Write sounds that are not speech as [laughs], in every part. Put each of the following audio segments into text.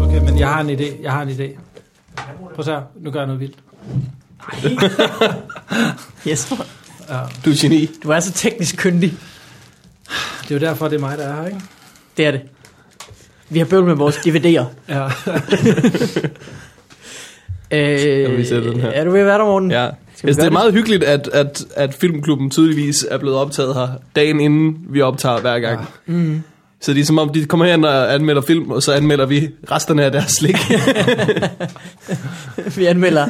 en idé. Jeg har en idé. Prøv at se her. Nu gør jeg noget vildt. [laughs] Jesper, Du er geni. du er så teknisk kyndig. Det er jo derfor, det er mig, der er her, ikke? Det er det. Vi har bøvlet med vores DVD'er. Ja. vi lige sætte den her? Øh, Er du ved at være der, Morten? Ja. Skal vi Altså, det gøre er det? meget hyggeligt, at, at, at filmklubben tydeligvis er blevet optaget her dagen inden vi optager hver gang. Ja. Mm. Så det er som om, de kommer hen og anmelder film, og så anmelder vi resterne af deres [laughs] slik. Vi anmelder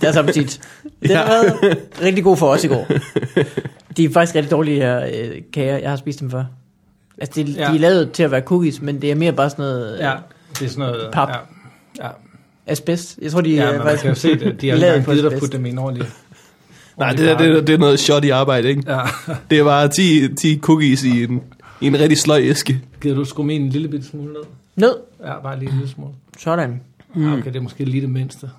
deres appetit. Det har [laughs] Ja. været rigtig god for os i går. De er faktisk rigtig dårlige her øh, kager. Jeg har spist dem før. Altså, de, ja. Ja. de er lavet til at være cookies, men det er mere bare sådan noget ja. ja. Det er sådan noget... Pap. Ja. Ja, asbest. Jeg tror, de ja er men man kan jo se det. De [laughs] har lavet ikke på engang givet at asbest. putte dem ind ordentligt. Nej, det, der, det, er- det er noget shot i arbejde, ikke? Ja. Det er bare 10, 10 cookies i en, i en rigtig sløj æske. Gider du skrue min en lille bitte smule ned? Nød. Ja, bare lige en lille smule. Sådan. Mm. Okay, det er måske lige det mindste.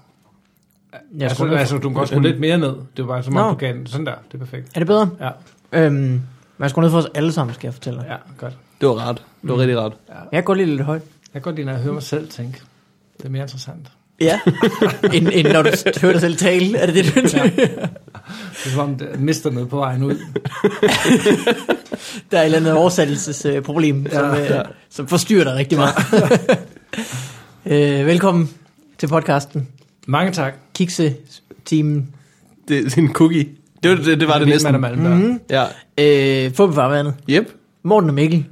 Jeg Altså, tror, det- altså, du kan godt skrue lidt mere ned. Det var bare som om, Nå. du gav den. Sådan der, det er perfekt. Er det bedre? Ja, Øhm, man skal ned for os alle sammen, skal jeg fortælle dig. ja, godt. Det var rart. Det Mm. var rigtig rart. Jeg går lige lidt højt. Jeg kan godt lide, når jeg hører mig selv tænke. Det er mere interessant. Ja. [laughs] end, end når du s- hører dig selv tale. Er det det, du [laughs] ja. Det er som om, det mister noget på vejen ud. Der er et eller andet oversættelsesproblem, øh, som, øh, ja. som forstyrrer dig rigtig meget. [laughs] øh, velkommen til podcasten. Mange tak. Kikse-teamen. Det, det er en cookie. Det var det, det, var det Vildt, Man er næsten. Malm, der. Mm-hmm. Ja. Øh, Få med farvandet. Yep. Morten og Mikkel.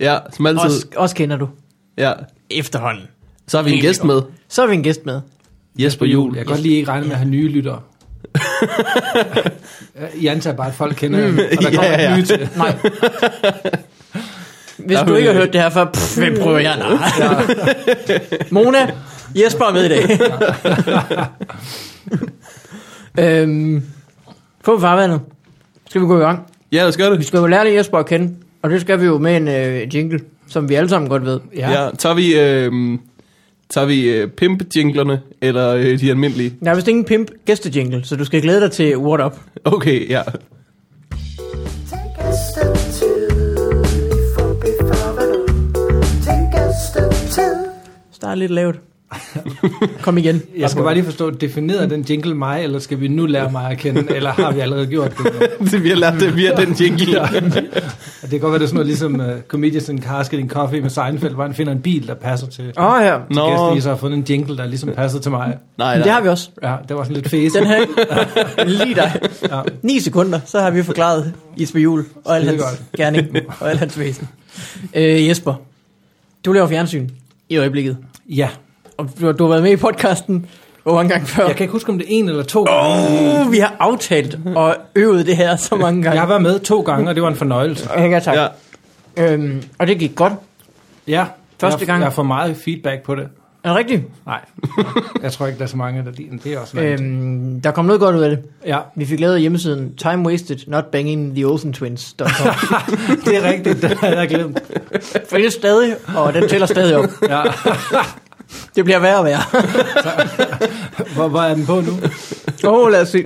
Ja, som altid. Også, også kender du. Ja. Efterhånden. Så har vi en gæst med. Så har vi en gæst med. Jesper Jul. Jeg kan godt lige ikke regne med at have nye lyttere. I antager bare, at folk kender dem, og der kommer Ja, ja, ja. ja. nye til. Nej. Hvis Der du vil- ikke har hørt det her før, pff, hvem prøver jeg? Nej. Mona, Jesper er med i [laughs] dag. øhm, på farvandet. Skal vi gå i gang? Ja, lad os gøre Vi det. skal jo lære det Jesper at kende, og det skal vi jo med en øh, jingle, som vi alle sammen godt ved. Ja. ja. Ja, tager vi, øh, tager vi øh, pimp-jinglerne, eller øh, de almindelige? Der er vist ingen pimp gæstejingle, så du skal glæde dig til What Up. Okay, ja. [laughs] Take a step two for before Take a step two. Start lidt [laughs] lavt. Kom igen. Jeg skal bare lige forstå, definerer den jingle mig, eller skal vi nu lære mig at kende, eller har vi allerede gjort det? nu? Det, vi har lært det via den jingle. [laughs] Og det kan godt være, det er sådan noget ligesom uh, Comedians in Cars Getting Coffee med Seinfeld, hvor han finder en bil, der passer til. Åh oh, ja. Nå. Nå, Gæsten så har fundet en jingle, der ligesom passer til mig. nej, Men det nej. har vi også. Ja, det var sådan lidt fæs. Den her, [laughs] lige dig. Ja. 9 sekunder, så har vi forklaret Jesper Juhl og al hans Skidegodt. gerning og al hans væsen. Øh, Jesper, du laver fjernsyn i øjeblikket, ja. og du, har- du har været med i podcasten hvor mange gange før. Jeg kan ikke huske, om det er en eller to. Oh, Uh, vi har aftalt og øvet det her så mange gange. jeg har været med to gange, og det var en fornøjelse. Ja, ja tak. Ja. Ja. Øhm, og det gik godt. Ja, Første jeg, gang. Jeg får meget feedback på det. Er det rigtigt? Nej, [laughs] jeg tror ikke, der er så mange, der lider den. Det er også øhm. Øhm, der kom noget godt ud af det. Ja, Vi fik lavet hjemmesiden Time Wasted Not Banging The Olsen [laughs] Twins. [laughs] det er rigtigt. Det havde jeg glemt. For det er stadig, og den tæller stadig op. Ja. Det bliver værre og værre. [laughs] Hvor, hvor er den på nu? Åh, oh, lad os se.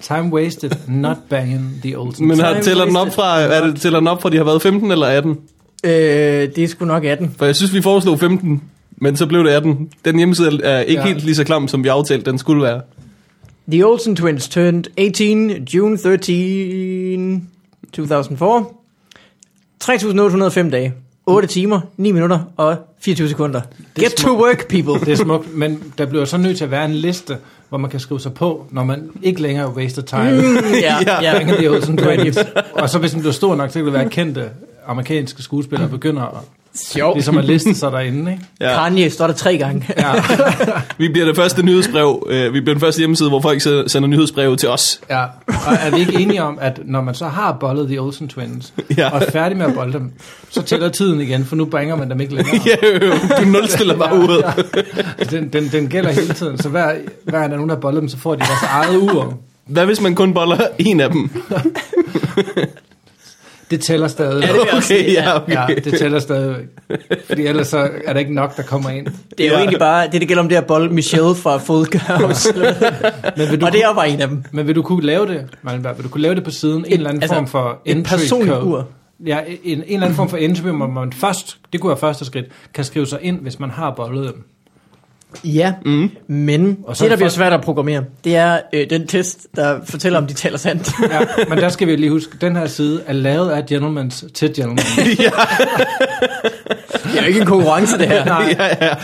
Time wasted, not banging the old Men har, Time tæller den op wasted. fra, er det, tæller den op fra, de har været 15 eller 18? Øh, det er sgu nok 18. For jeg synes, vi foreslog 15, men så blev det 18. Den hjemmeside er ikke Ja. ja. helt lige så klam, som vi aftalte, den skulle være. The Olsen twins turned 18 June 13, 2004. 3.805 dage, 8 timer, 9 minutter og 24 sekunder. Get to work, Det people. er smukt, men der bliver så nødt til at være en liste, hvor man kan skrive sig på, når man ikke længere waster time. [laughs] ja, ja. Banging the Olsen [laughs] Twins. Og så hvis den bliver stor nok, så kan det være kendte amerikanske skuespillere begynder at, Sjov. ligesom at liste sig derinde. Ikke? Ja. Kanye står der tre gange. Ja, Vi bliver det første nyhedsbrev, øh, vi bliver den første hjemmeside, hvor folk se- sender nyhedsbreve til os. [laughs] ja. Og er vi ikke enige om, at når man så har bollet The Olsen Twins, Ja. og er færdig med at bolle dem, så tæller tiden igen, for nu bringer man dem ikke længere. Altså, Ja, øh, du nulstiller bare uret. Den, den, den gælder hele tiden, så hver, hver gang der er nogen, der har bollet dem, så får de deres eget ur. Hvad hvis man kun boller en af dem? Det tæller stadig. det vil [laughs] jeg også Okay, sige, ja. ja, Ja, okay. det tæller stadigvæk. Fordi ellers så er der ikke nok, der kommer ind. Det er jo Ja. egentlig bare, det det gælder om det at bold Michelle fra Full House. Men vil du, og det er jo bare en af dem. men vil du kunne lave det, Malmberg? Vil du kunne lave det på siden? En Et- eller anden altså, form for Et entry personligt code? ur. Ja, en, en eller anden form for entry, hvor man først, det kunne være første skridt, kan skrive sig ind, hvis man har bollet dem. Ja, mm. men og Og så så det, er der det bliver folk- svært at programmere, det er øh, den test, der fortæller, om de taler sandt. Ja, men der skal vi lige huske, den her side er lavet af gentlemans til gentlemen. det er jo ikke en konkurrence, det [laughs] [laughs] her. Nej,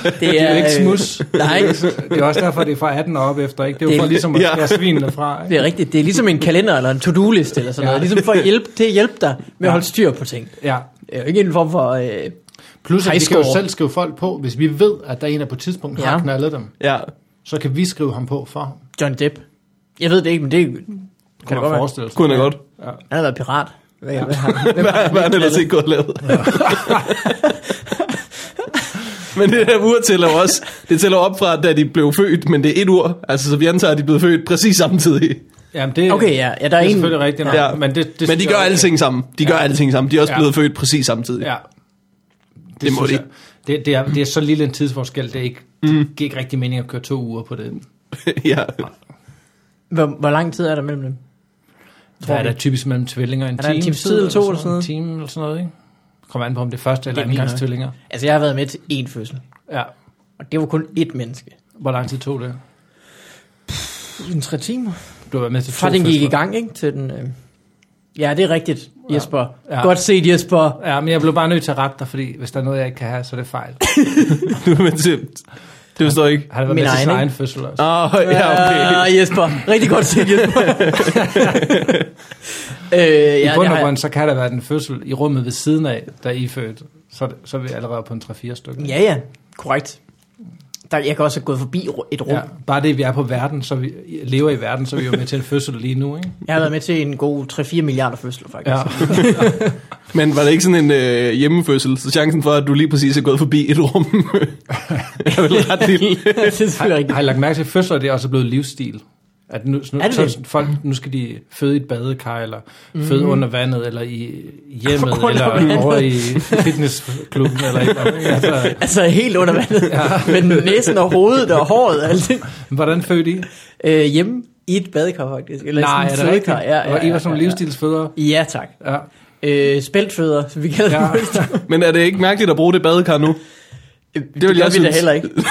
Det det er jo ikke øh, smus. Nej, Det er også derfor, det er fra 18 og op efter, ikke? Det er Det jo er- for ligesom at ja. skære svinene fra, ikke? det er rigtigt. Det er ligesom en kalender eller en to-do-list eller sådan Ja. noget. Ligesom for at hjælpe, til at hjælpe dig med at Ja. holde styr på ting. Ja. Det er jo ikke en form for... Øh, Plus, at vi kan Highscore. jo selv skrive folk på, hvis vi ved, at der er en, der på et tidspunkt ja. Ja. har knaldet dem. Ja. Så kan vi skrive ham på for ham. John Depp. Jeg ved det ikke, men det kan det Kan godt man være. forestille sig. Kunne han da godt. Han har været pirat. Hvad, ja. hvad har han? Hvad hvad er det ellers ikke [laughs] godt lavet? men det der ur tæller jo også, det tæller op fra, da de blev født, men det er et ur. Altså, så vi antager, at de blev født præcis samtidig. Jamen, det, Okay, ja. ja der er, det er en, selvfølgelig rigtigt. Ja. Ja. Men, det, det, Men synes de jeg gør også- alting sammen. De gør alting sammen. De er også Ja. blevet født præcis samtidig. Ja. Det, må synes de. Mm. jeg- Det, det, er, det er så lille en tidsforskel, det, er ikke, det giver ikke rigtig mening at køre to uger på det. [laughs] ja. hvor, hvor lang tid er der mellem dem? Hvad er der typisk mellem tvillinger? En Er der en time, times tid eller to eller sådan noget? En time eller sådan noget, ikke? Kommer an på, om det er første eller Det er anden vildt gangs nok. tvillinger. Altså, jeg har været med til én fødsel, Ja. og det var kun ét menneske. Hvor lang tid tog det? En tre timer. Du har været med til Fra to den gik i fødsler. gang, ikke? Til den, øh... Ja, det er rigtigt, Jesper. Ja. Ja. Godt set, Jesper. Ja, men jeg blev bare nødt til at rette dig, fordi hvis der er noget, jeg ikke kan have, så er det fejl. Du er med til... Det forstår jeg ikke. Har det været Min med til sin egen, egen fødsel også? Åh, oh, ja, okay. Øh, Jesper. Rigtig godt set, [laughs] Jesper. øh, I ja, det bund og har grund, så kan der være den fødsel i rummet ved siden af, der er I født. Så, er det- så er vi allerede på en 3-4 stykker. jeg. Ja, ja. Korrekt. Der, jeg kan også have gået forbi ru- et rum. Ja. Ja, bare det, vi er på verden, så vi lever i verden, så er vi jo med til en fødsel lige nu, ikke? Jeg har været med til en god 3-4 milliarder fødsler, faktisk. Ja. Ja. Men var det ikke sådan en øh, hjemmefødsel, så chancen for, at du lige præcis er gået forbi et rum, [laughs] er vel ret lille. [laughs] det er selvfølgelig rigtigt. Har I lagt mærke til, at fødsler det er også blevet livsstil? At nu, nu, Er det så, det? Mm. folk, nu skal de føde i et badekar, eller føde under vandet, eller i hjemmet, Under eller vandet. over i fitnessklubben, eller et eller andet. ikke? Altså, Altså helt under vandet. ja. Men næsen og hovedet og håret og alt det. hvordan fødte I? Øh, hjemme i et badekar, faktisk. Eller i Nej, sådan er det et rigtigt? fødekar. Ja, ja, Og I ja, var som ja, livsstilsfødere? Ja, tak. Ja. Øh, spæltfødder, som vi kalder Ja. ja. det. Men er det ikke mærkeligt at bruge det badekar nu? [laughs] Det, det ville gør jeg vi da synes. heller ikke. Det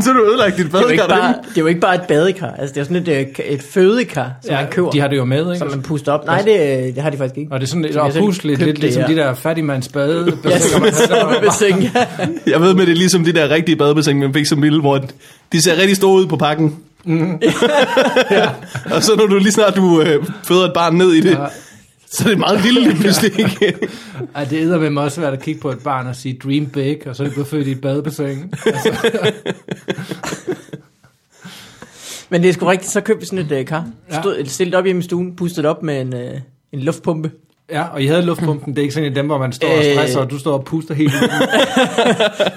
så har du ødelagt dit er, jo badekar ikke bare, derhjemme. det er jo ikke bare et badekar. Altså, det er sådan et, øh, k- et fødekar, som ja, man køber, de har det jo med, som ikke? man puster op. Nej, det, øh, det har de faktisk ikke. Og det er sådan lidt Som jeg selv opusligt, lidt købte, ligesom ja. de der fattigmandsbade. [laughs] Ja, som en svømmebassin. ja. Jeg ved med, det er ligesom de der rigtige badebassin, man fik som lille, hvor de ser rigtig store ud på pakken. Mm. [laughs] ja. Og så når du lige snart du øh, føder et barn ned i det, ja. Ja. så er det meget lille lige pludselig. ikke? Ej, det æder med mig også svært at kigge på et barn og sige dream big, og så er det blevet født i et badebassin. Men det er sgu rigtigt, så købte vi sådan et øh, kar. Stod, ja. Stillet op hjemme i stuen, pustet op med en, øh, en luftpumpe. Ja, og I havde luftpumpen. Det er ikke sådan en dem, hvor man står og Øh. stresser, og du står og puster helt vildt.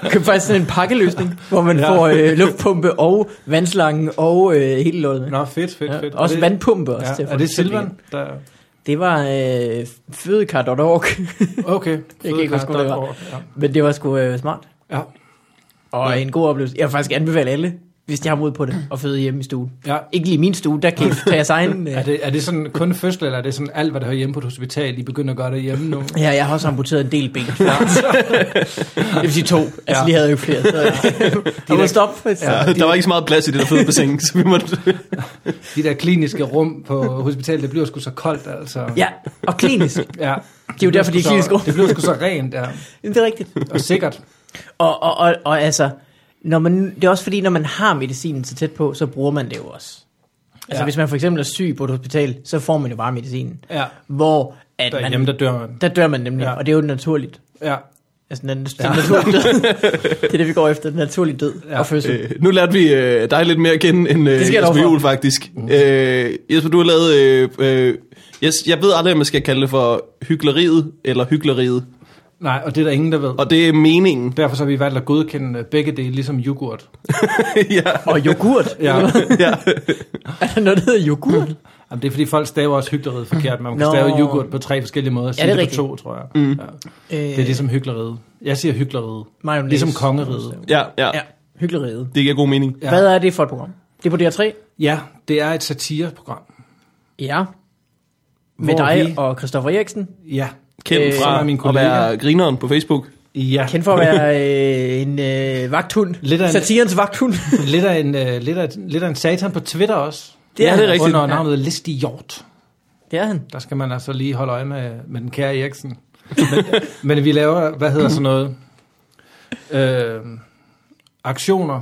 Jeg købte faktisk sådan en pakkeløsning, hvor man [laughs] ja. Ja. får øh, luftpumpe og vandslangen og øh, hele lortet med. Nå, fedt, fedt, fedt. Ja, også Og det- vandpumpe også. til at Ja, få er det til at Silvan? Der... virke. Det var øh, fødekar.org, Okay. kan ikke huske, hvad det var. Ja. [laughs] men det var sgu øh, smart. Ja. Og en god oplevelse. Jeg vil faktisk anbefale alle, hvis de har mod på det, at føde hjemme i stuen. ja. Ikke lige min stue, der kan I tage [laughs] jeres egen... Øh. Er, det, er det sådan kun fødsel, eller er det sådan alt, hvad der hører hjemme på et hospital, I begynder at gøre det hjemme nu? Ja, jeg har også amputeret en del ben. [laughs] det vil sige to. Altså, ja. Ja. lige havde jeg jo [laughs] flere. Så, de må stoppe. Ja. [laughs] Ja, der var ikke så meget plads i det der fede bassin, så vi måtte... De der kliniske rum på hospitalet, det bliver sgu så koldt, altså. ja, og klinisk. ja. Det er jo derfor, de bliver er sgu klinisk så- rum. [laughs] Det bliver sgu så rent, ja. Det er rigtigt. Og sikkert. Og, og, og, og altså, når man, det er også fordi, når man har medicinen så tæt på, så bruger man det jo også. Altså, ja. Ja. hvis man for eksempel er syg på et hospital, så får man jo bare medicinen. Ja. Hvor at man, Derhjemme, der dør man. der dør man nemlig, ja. Ja. og det er jo naturligt. Ja. Altså, den, den naturlige [laughs] død. det er det, vi går efter, den naturlige død ja. Ja. og fødsel. Øh, nu lærte vi øh, dig lidt mere at kende end øh, Det skal jeg Jesper love for. Juhl, faktisk. Øh, Jesper, du har lavet... Øh, øh, jeg, jeg ved aldrig, om man skal kalde det for hykleriet eller hykleriet. Nej, og det er der ingen, der ved. Og det er meningen. [laughs] Derfor så har vi valgt at godkende begge dele, ligesom yoghurt. ja, Og yoghurt. [laughs] Ja. ja. Er der noget, der hedder yoghurt? Jamen, det er fordi, folk staver også hyggeleriet forkert. Man kan Nå. Nå. stave yoghurt på tre forskellige måder. Ja, det er det er på rigtigt. to, tror jeg. Mm. Ja. Det er ligesom hyggeleriet. Jeg siger hyggeleriet. Øh, Mayonnaise. Ligesom kongeriget. ja, ja, Ja, ja. hyggeleriet. Det giver god mening. Ja. Ja. Hvad er det for et program? Det er på DR3? Ja, det er et satireprogram. Ja. Med Hvor dig vi- og Christoffer Eriksen. Ja. Kendt Øh, øh, som er fra min at være grineren på Facebook. Ja. Kendt for at være øh, en øh, vagthund. Lidt af en- Satirens vagthund. [laughs] lidt, af en, øh, lidt, af, lidt af en satan på Twitter også. Det er Ja, det er han. rigtigt. Under navnet Listig Hjort. Det er han. Der skal man altså lige holde øje med, med den kære Eriksen. Men, men vi laver, hvad hedder sådan noget, øh, aktioner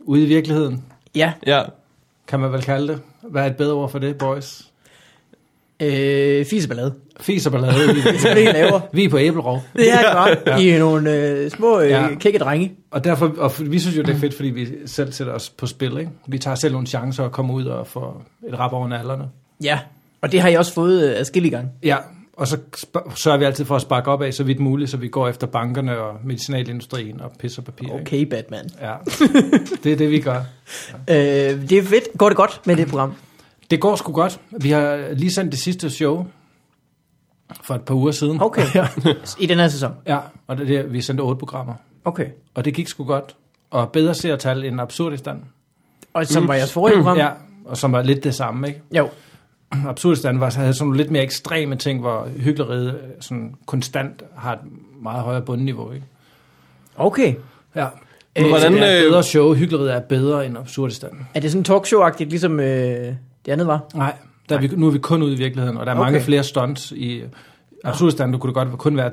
ude i virkeligheden, Ja. Ja. kan man vel kalde det. Hvad er et bedre ord for det, boys? Øh, fiseballade. Fis og ballade. Vi, Det er det, I laver. vi er på æblerov. Det er godt. Ja. I er nogle øh, små øh, Ja. ja. kække drenge. Og, derfor, og vi synes jo, det er fedt, fordi vi selv sætter os på spil. Ikke? Vi tager selv nogle chancer og kommer ud og får et rap over nallerne. Ja. Og det har I også fået øh, adskillige gange. Ja, og så sp- sørger vi altid for at sparke op af så vidt muligt, så vi går efter bankerne og medicinalindustrien og pisser papir. Ikke? Okay, Batman. Ja, det er det, vi gør. Øh, det er fedt. Går det godt med det program? Det går sgu godt. Vi har lige sendt det sidste show for et par uger siden. Okay. Ja, I den her sæson? ja og det, er det, vi sendte otte programmer. Okay. Og det gik sgu godt. Og bedre ser tal end Absurdistan. Og som var jeres forrige program? Ja, og som var lidt det samme, ikke? Jo. Absurdistan var, havde sådan nogle lidt mere ekstreme ting, hvor hyggeleriet øh, sådan konstant har et meget højere bundniveau, ikke? Okay. Ja. Men Øh, hvordan, det er et øh, bedre show. Hyggeleriet er bedre end Absurdistan. Er det sådan talkshow-agtigt, ligesom øh, det andet var? Nej, der er vi, nu er vi kun ude i virkeligheden, og der er okay. Okay. mange flere stunts i... øh, Absurdistan, der kunne det godt kun være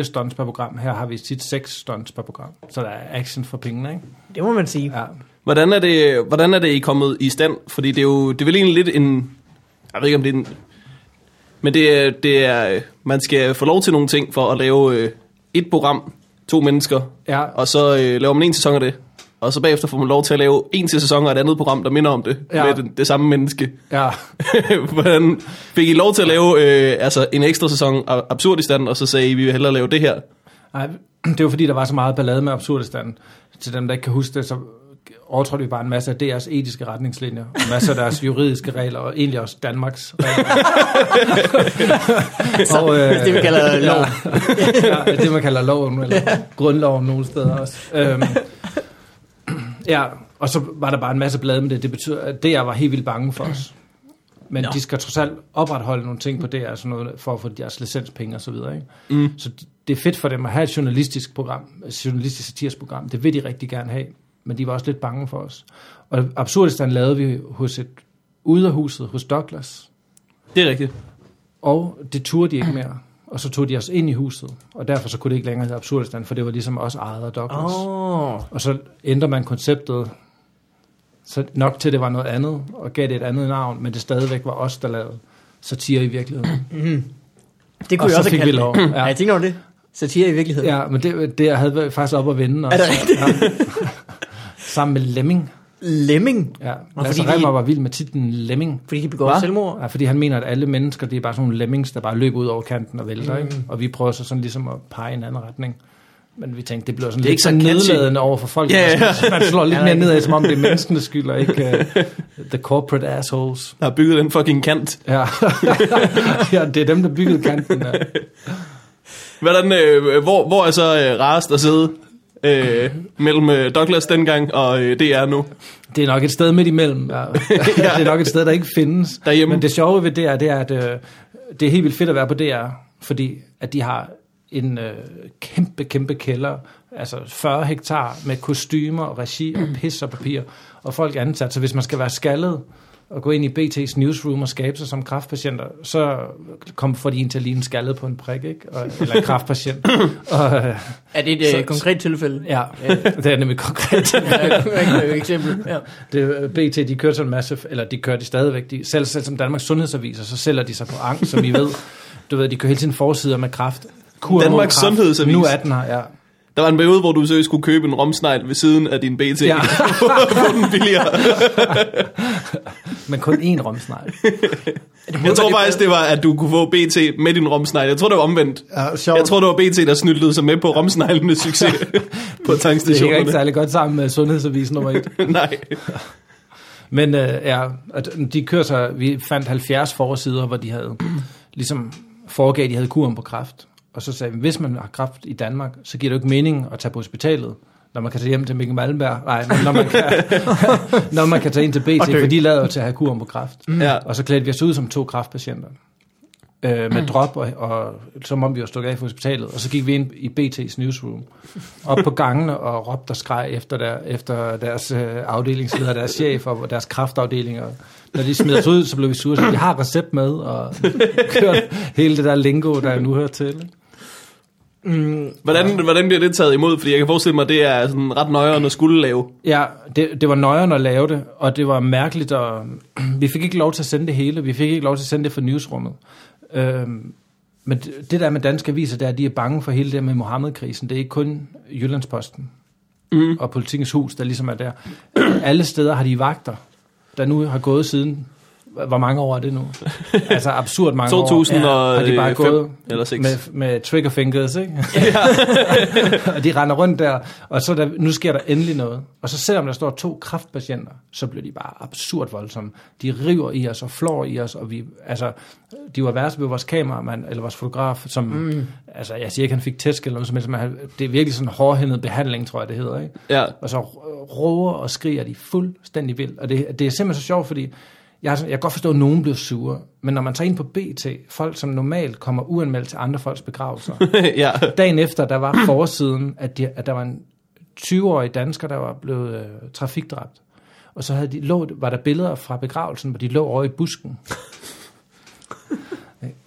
3-4 stunts per program. Her har vi tit 6 stunts per program. Så der er action for pengene, ikke? Det må man sige. Ja. Hvordan er, det, hvordan er det, I er kommet i stand? Fordi det er jo, det er vel egentlig lidt en, jeg ved ikke om det er en, men det er, det er, øh, man skal få lov til nogle ting for at lave øh, et program, to mennesker, ja. og så øh, laver man en sæson af det. Og så bagefter får man lov til at lave en til sæson og et andet program, der minder om det, Ja. ja. med det, det samme menneske. [laughs] ja. Hvordan fik I lov til at lave øh, altså en ekstra sæson af Absurdistan, og så sagde I, vi vil hellere lave det her? Nej, [clears throat] det var fordi, der var så meget ballade med Absurdistan. Til dem, der ikke kan huske det, så overtrådte vi bare en masse af DR's etiske retningslinjer, og masser af deres juridiske regler, og egentlig også Danmarks regler. [laughs] og, øh, Det vi kalder lov. ja, ja, det man kalder loven, eller grundloven nogle steder også. [laughs] Øhm, ja, og så var der bare en masse blade med det. Det betyder, at DR var helt vildt bange for os. Men Nå. de skal trods alt opretholde nogle ting på DR, sådan noget, for at få deres licenspenge og så videre. Ikke? Mm. Så det er fedt for dem at have et journalistisk program, et journalistisk satirisk program. Det vil de rigtig gerne have, men de var også lidt bange for os. Og Absurdistan lavede vi hos et uderhuset hos Douglas, Det er rigtigt. og det turde de ikke mere. Og så tog de os ind i huset, og derfor så kunne det ikke længere hedde Absurdistan, for det var ligesom også ejet af Douglas. Oh. Oh. Og så ændrer man konceptet, så nok til det var noget andet, og gav det et andet navn, men det stadigvæk var os, der lavede satire i virkeligheden. Det kunne Og jeg så også fik kalde vi lov. det. Ja. Ja. jeg tænker over det. Satire i virkeligheden. Ja, men det, det havde været faktisk op at vende også. Er det rigtigt? Sammen med Lemming. Lemming. Ja. Og Lasse fordi de- Remmer var vild med titlen Lemming. Fordi de begår Hva? selvmord. Ja, fordi han mener, at alle mennesker, det er bare sådan nogle lemmings, der bare løber ud over kanten og vælter, mm. ikke? Og vi prøver så sådan ligesom at pege i en anden retning. Men vi tænkte, det bliver sådan Det lidt er ikke så sådan catchy. nedladende over for folk. Ja, ja. Man- [laughs] Man slår lidt Ja, mere det er nedad, som om det er menneskenes skyld, og ikke uh, the corporate assholes. Der har bygget den fucking kant. Ja. [laughs] ja, det er dem, der byggede kanten. Ja. Hvordan, øh, hvor, hvor er så øh, rarest at sidde øh, mellem øh, Douglas dengang og øh, DR nu? Det er nok et sted midt imellem. [laughs] Ja. Det er nok et sted, der ikke findes. Derhjemme. Men det sjove ved DR, det er, at øh, det er helt vildt fedt at være på DR, fordi at de har en øh, kæmpe, kæmpe kælder, altså 40 hektar med kostymer, og regi og pis og papir, og folk er ansat. Så hvis man skal være skaldet og gå ind i BT's newsroom og skabe sig som kraftpatienter, så kom, får de en til at ligne skaldet på en prik, ikke? Og, eller en kraftpatient. og, øh, Er det et Så- øh, konkret tilfælde? ja, det er nemlig konkret. Ja, et eksempel. Ja. Det, er BT, de kørte sådan en masse, eller de kører det stadigvæk. De, selv, selv som Danmarks Sundhedsaviser, så sælger de sig på ang, som I ved. [laughs] Du ved, de kører hele tiden forsider med kraft. Kur mod Danmarks kræft. Sundhedsavis. Nu er den her, ja. Der var en periode, hvor du seriøst skulle købe en romsnegl ved siden af din BT. ja. [laughs] Ja. Få den [laughs] billigere. Men kun én romsnegl. Jeg tror faktisk, det var, at du kunne få BT med din romsnegl. Jeg tror, det var omvendt. Ja, sjovt. Jeg tror, det var BT, der snyldede sig med på romsneglenes succes på Det hænger ikke [laughs] tankstationerne. særlig godt sammen med Sundhedsavisen nummer et. Nej. Men øh, ja, at de kører sig, vi fandt 70 forsider, hvor de havde [clears throat] ligesom foregav, at de havde kuren på kræft. Og så sagde vi, hvis man har kræft i Danmark, så giver det jo ikke mening at tage på hospitalet, når man kan tage hjem til Mikkel Malmberg. Nej, men når man kan, [laughs] når man kan tage ind til BT, for de lader jo til at have kuren på kræft. Ja. Og så klædte vi os ud som to kræftpatienter. øh, med drop, og, og, som om vi var stukket af fra hospitalet. Og så gik vi ind i BT's newsroom, op på gangene og råbte og skreg efter, der, efter deres øh, afdelingsleder, deres chef og deres kraftafdelinger. Når de smed os ud, så blev vi sure, så de har recept med, og [laughs] kørte hele det der lingo, der nu hører til. ikke? Mm, Hvordan, hvordan bliver det taget imod? Fordi jeg kan forestille mig, det er sådan ret nøjeren at skulle lave. Ja, det, det var nøjeren at lave det, og det var mærkeligt, og [clears throat] vi fik ikke lov til at sende det hele, vi fik ikke lov til at sende det for newsrummet. Øhm, men det, det der med danske aviser, det er, at de er bange for hele det der med Mohammed-krisen. Det er ikke kun Jyllandsposten Mm. og Politikens Hus, der ligesom er der. [clears throat] Alle steder har de vagter, der nu har gået siden... Hvor mange år er [laughs] det nu? Altså absurd mange år. 2000 og, Har de bare øh, gået fem eller seks. med, med trigger fingers, ikke? [laughs] og de render rundt der, og så er der, nu sker der endelig noget. Og så selvom der står to kraftpatienter, så bliver de bare absurd voldsomme. De river i os og flår i os, og vi, altså, de var værst ved vores kameramand, eller vores fotograf, som, mm. altså, jeg siger ikke, han fik tæsk eller noget som helst, men han- det er virkelig sådan en hårdhændet behandling, tror jeg, det hedder, ikke? Ja. [laughs] Og så råger og skriger de fuldstændig vildt. Og det, det er simpelthen så sjovt, fordi jeg, er sådan- jeg kan godt forstå, at nogen bliver sure. Men når man tager ind på BT, folk som normalt kommer uanmeldt til andre folks begravelser. ja. Dagen efter, der var forsiden, at, de, at der var en 20-årig dansker, der var blevet øh, trafikdræbt. Og så havde de, lå, var der billeder fra begravelsen, hvor de lå over i busken.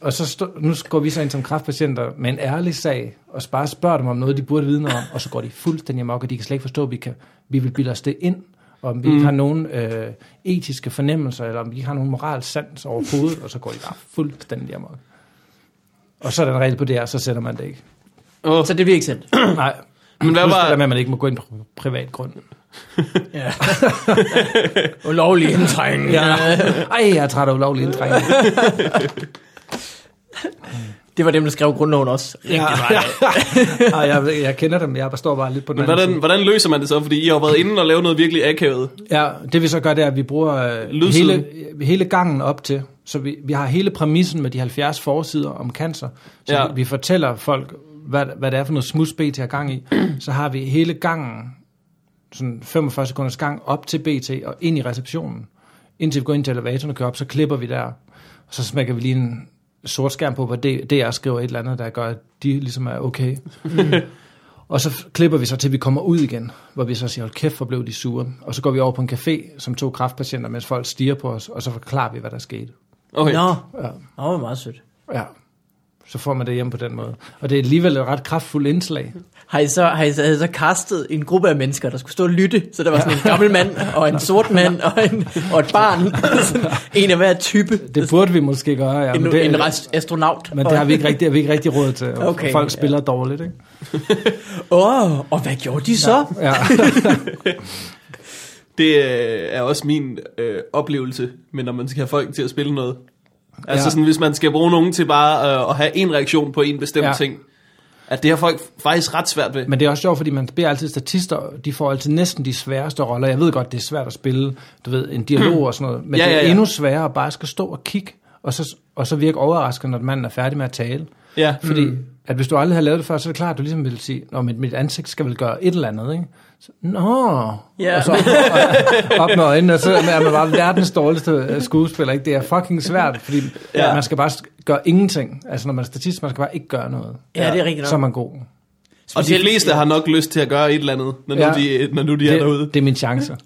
Og så stå, nu går vi så ind som kræftpatienter med en ærlig sag, og så bare spørger dem om noget, de burde vide noget om, og så går de fuldstændig amok, og de kan slet ikke forstå, at vi, kan, vi vil bilde os det ind, og om vi mm. ikke har nogen øh, etiske fornemmelser, eller om vi ikke har nogen moralsk sans overhovedet, og så går de bare fuldstændig amok. Og så er der en regel på det her, så sætter man det ikke. Oh. så det bliver ikke sendt. Nej, Men hvad Plus det der var... med, at man ikke må gå ind på privat grund. Ja. Ulovlig indtrængen. Ja. Ej, jeg er træt af ulovlig indtrængning. Det var dem, der skrev grundloven også. Rigtig meget. [laughs] Ej, jeg, jeg kender dem, jeg står bare lidt på den Men anden hvordan, hvordan løser man det så? Fordi I har været inde og lavet noget virkelig akavet. side. Ja, det vi så gør, det er, at vi bruger øh, Lydsiden. hele, hele gangen op til, så vi, vi har hele præmissen med de 70 forsider om cancer, så Ja. ja. vi fortæller folk, hvad, hvad det er for noget smuds BT har gang i. Så har vi hele gangen, sådan 45 sekunders gang, op til BT og ind i receptionen. Indtil vi går ind til elevatoren og kører op, så klipper vi der. Og så smækker vi lige en sort skærm på, hvor det, DR skriver et eller andet, der gør, at de ligesom er okay. Og så f- klipper vi så til, at vi kommer ud igen, hvor vi så siger, hold kæft, hvor blev de sure. Og så går vi over på en café, som to kraftpatienter, mens folk stiger på os, og så forklarer vi, hvad der skete. Okay. Nå, Ja. det var meget sødt. ja. Så får man det hjem på den måde. Og det er alligevel et ret kraftfuldt indslag. Har I, så, har, I så, havde I så kastet en gruppe af mennesker, der skulle stå og lytte? Så der var sådan en gammel mand, og en sort mand, og, en, og et barn. [laughs] Sådan en af hver type. Det burde vi måske gøre, ja. en, Men det, en rest, astronaut. men det har vi ikke rigtig, har vi ikke rigtig råd til. og Okay, folk ja. spiller dårligt, ikke? Åh, oh, og hvad gjorde de så? Ja. Ja. Det øh, er også min øh, oplevelse, men når man skal have folk til at spille noget. Altså Ja. sådan, hvis man skal bruge nogen til bare øh, at have en reaktion på en bestemt ja. Ja. ting. At det har folk faktisk ret svært ved. Men det er også sjovt, fordi man beder altid statister, de får altid næsten de sværeste roller. Jeg ved godt, det er svært at spille, du ved, en dialog og sådan noget, men Ja, ja, det er ja, ja, ja. ja. endnu sværere at bare skal stå og kigge, og så, og så virke overrasket, når manden er færdig med at tale. Ja, Fordi mm. at hvis du aldrig har lavet det før, så er det klart, at du ligesom vil sige, Nå, mit, mit ansigt skal vel gøre et eller andet, ikke? Så, Nå, Ja. og så op, op med øjnene, og så er man bare verdens dårligste øh, skuespiller, ikke? Det er fucking svært, fordi Ja. ja. man skal bare sk- gøre ingenting. Altså, når man er statist, man skal bare ikke gøre noget. Ja, det er rigtigt nok. Så er man god. og de fleste har nok lyst til at gøre et eller andet, når ja. Ja. nu de, når nu de er [laughs] derude. det, det er min chance.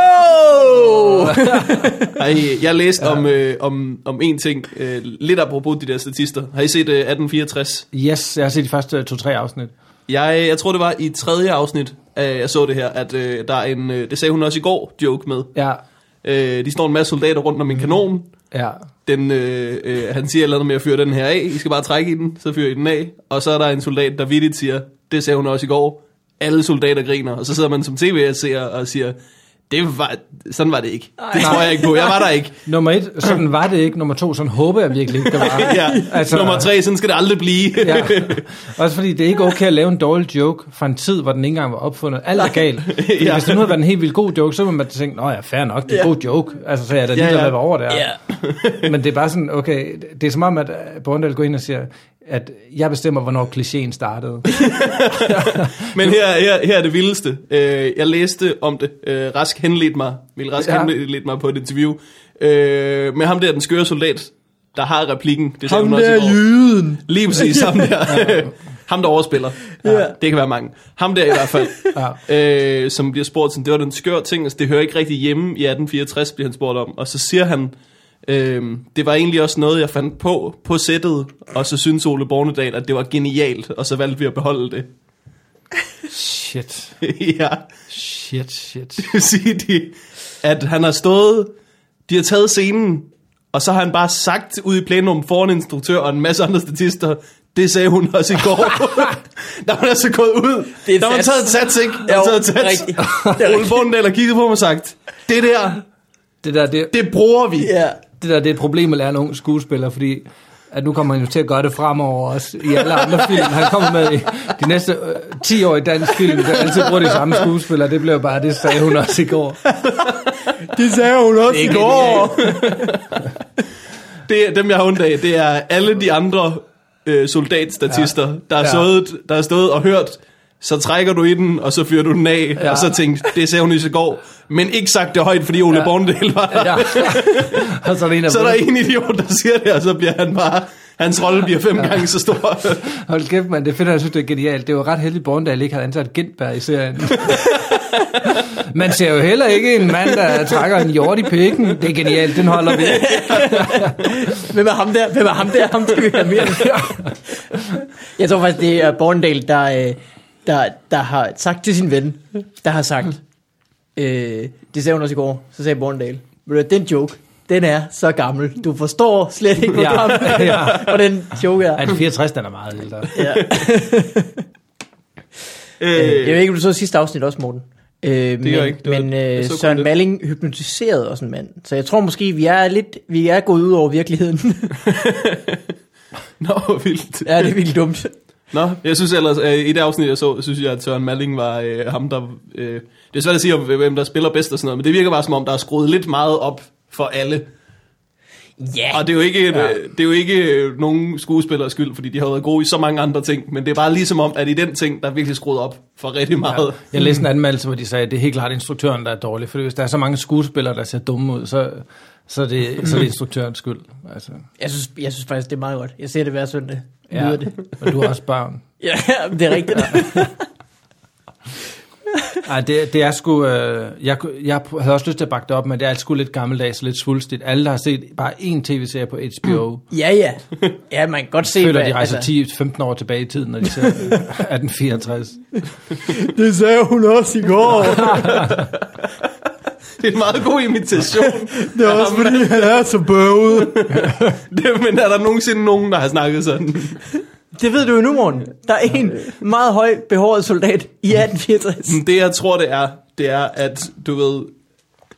Wow! Ej, jeg læste ja. om, øh, om, om en ting, øh, lidt apropos de der statister. Har I set øh, 1864? Yes, jeg har set de første øh, to-tre afsnit. Jeg, jeg tror, det var i tredje afsnit, øh, jeg så det her, at øh, der er en, øh, det sagde hun også i går, joke med. Ja, Øh, de står en masse soldater rundt om en kanon. ja. Den, øh, øh, han siger et eller andet med at fyre den her af. I skal bare trække i den, så fyrer I den af. Og så er der en soldat, der vidtigt siger, det sagde hun også i går. Alle soldater griner, og så sidder man som tv-seer og siger, det var, sådan var det ikke. Det tror jeg ikke på. Jeg var der ikke. Nummer et, sådan var det ikke. Nummer to, sådan håber jeg virkelig ikke, det var. [laughs] Ja. Altså, Altså- Nummer tre, sådan skal det aldrig blive. Ja. [laughs] Også fordi det er ikke okay at lave en dårlig joke fra en tid, hvor den ikke engang var opfundet. Alt er galt. Fordi Ja. Hvis det nu havde været en helt vildt god joke, så ville man tænke, nå ja, fair nok, det er en god joke. Altså, så er jeg da ligeglad ja. med, hvad over det er. Ja. Men det er bare sådan, okay, det er som om, at øh, Borndal går ind og siger, at jeg bestemmer, hvornår klichéen startede. [laughs] Men her, her, her er det vildeste. Øh, jeg læste om det. Øh, Rask henledte mig, Vil Rask ja. Ja. henledte mig på et interview øh, med ham der, den skøre soldat. der har replikken. Det sagde Ham hun også i der går. jyden. Lige [laughs] præcis, ham der. ham der overspiller. Ja. Ja. Det kan være mange. Ham der i hvert fald. [laughs] ja. øh, som bliver spurgt sådan, det var den skør ting, altså, det hører ikke rigtig hjemme i 1864, bliver han spurgt om. Og så siger han, øh, det var egentlig også noget, jeg fandt på på sættet, og så synes Ole Bornedal, at det var genialt, og så valgte vi at beholde det. [laughs] Shit, ja, shit, shit. det vil [laughs] sige, de, at han har stået, de har taget scenen, og så har han bare sagt ud i plenum foran en instruktør og en masse andre statister, det sagde hun også i [laughs] går. [laughs] der var altså gået ud. Det er der var sats. taget et sats, ikke? Der Jo, var taget et sats. rigtigt. [laughs] Det er Ole Bornedal har kigget på mig og sagt, det der, Det der, det, det bruger vi. Ja. det der, det er et problem at lære en ung skuespiller, fordi at nu kommer han jo til at gøre det fremover også i alle andre film. Han kommer med i de næste øh, 10 år i dansk film, der altid bruger de samme skuespillere. Det blev jo bare, det sagde hun også i går. Det sagde hun også I går. det er dem, jeg har ondt af. Det er alle de andre øh, soldatstatister, ja. der, har Ja. stået, der har stået og hørt, så trækker du i den, og så fyrer du den af, ja. Ja. og så tænkte, det sagde hun i så går, men ikke sagt det højt, fordi Ole ja. Ja. Bornedal var der. Ja. Ja. [laughs] Og så er der en, der, [laughs] Så er der en idiot, der siger det, og så bliver han bare, hans rolle bliver fem ja. gange så stor. Hold kæft, mand. Det finder jeg, synes, det er genialt. Det var ret heldigt, Borndal ikke havde ansat Gentberg i [laughs] serien. Man ser jo heller ikke en mand, der trækker en jord i pikken. Det er genialt, den holder vi. Hvem er ham der? Hvem er ham der? Ham skal vi have mere. Jeg tror faktisk, det er Borndal, der, øh, der, der har sagt til sin ven, der har sagt, øh, det sagde hun også i går, så sagde Borndal, "Ved du hvad, den joke, den er så gammel. Du forstår slet ikke, hvor Ja. gammel Ja. hvordan joke er. At 64, den er meget ældre. Ja. Øh, Jeg ved ikke, om du så sidste afsnit også, Morten. Øh, det men, jeg ikke. Øh. Det var- men jeg øh, så kun Søren det. Malling hypnotiserede også en mand. Så jeg tror måske, vi er lidt, vi er gået ud over [laughs] virkeligheden. Nå, hvor vildt. ja, det er vildt dumt. Nå, jeg synes ellers, øh, i det afsnit, jeg så, synes jeg, at Søren Malling var øh, ham, der... Øh, det er svært at sige, om, hvem der spiller bedst og sådan noget, men det virker bare, som om der er skruet lidt meget op for alle. Ja, Og det er jo ikke, ja. det er jo ikke øh, nogen skuespillers skyld, fordi de har været gode i så mange andre ting, men det er bare ligesom om, at i den ting, der er virkelig skruet op for rigtig meget. Jeg læste en anmeldelse, hvor de sagde, at det er helt klart instruktøren, der er dårlig. For hvis der er så mange skuespillere, der ser dumme ud, så, så, er, det, så er det instruktørens skyld. Altså, Jeg synes, jeg synes faktisk, det er meget godt. Jeg ser det hver søndag. Ja. ja. Lyder det. Og du har også børn. Ja, men [laughs] det er rigtigt. [laughs] Ej, det, det er sgu... Øh, jeg, kunne- jeg havde også lyst til at bakke det op, men det er sgu lidt gammeldags, lidt svulstigt. Alle, der har set bare én tv-serie på HBO, Ja, ja. Ja, man kan godt [clears throat] se, føler, hvad- altså- de rejser 10-15 år tilbage i tiden, når de ser øh, 1864. Det sagde hun også i [laughs] går. [laughs] Det er en meget god imitation. Det er også fordi, han er så bøvet. det, men er der nogensinde nogen, der har snakket sådan? [laughs] Det ved du jo nu, morgen. Der er en meget høj behåret soldat i 1864. Det, jeg tror, det er, det er, at du ved...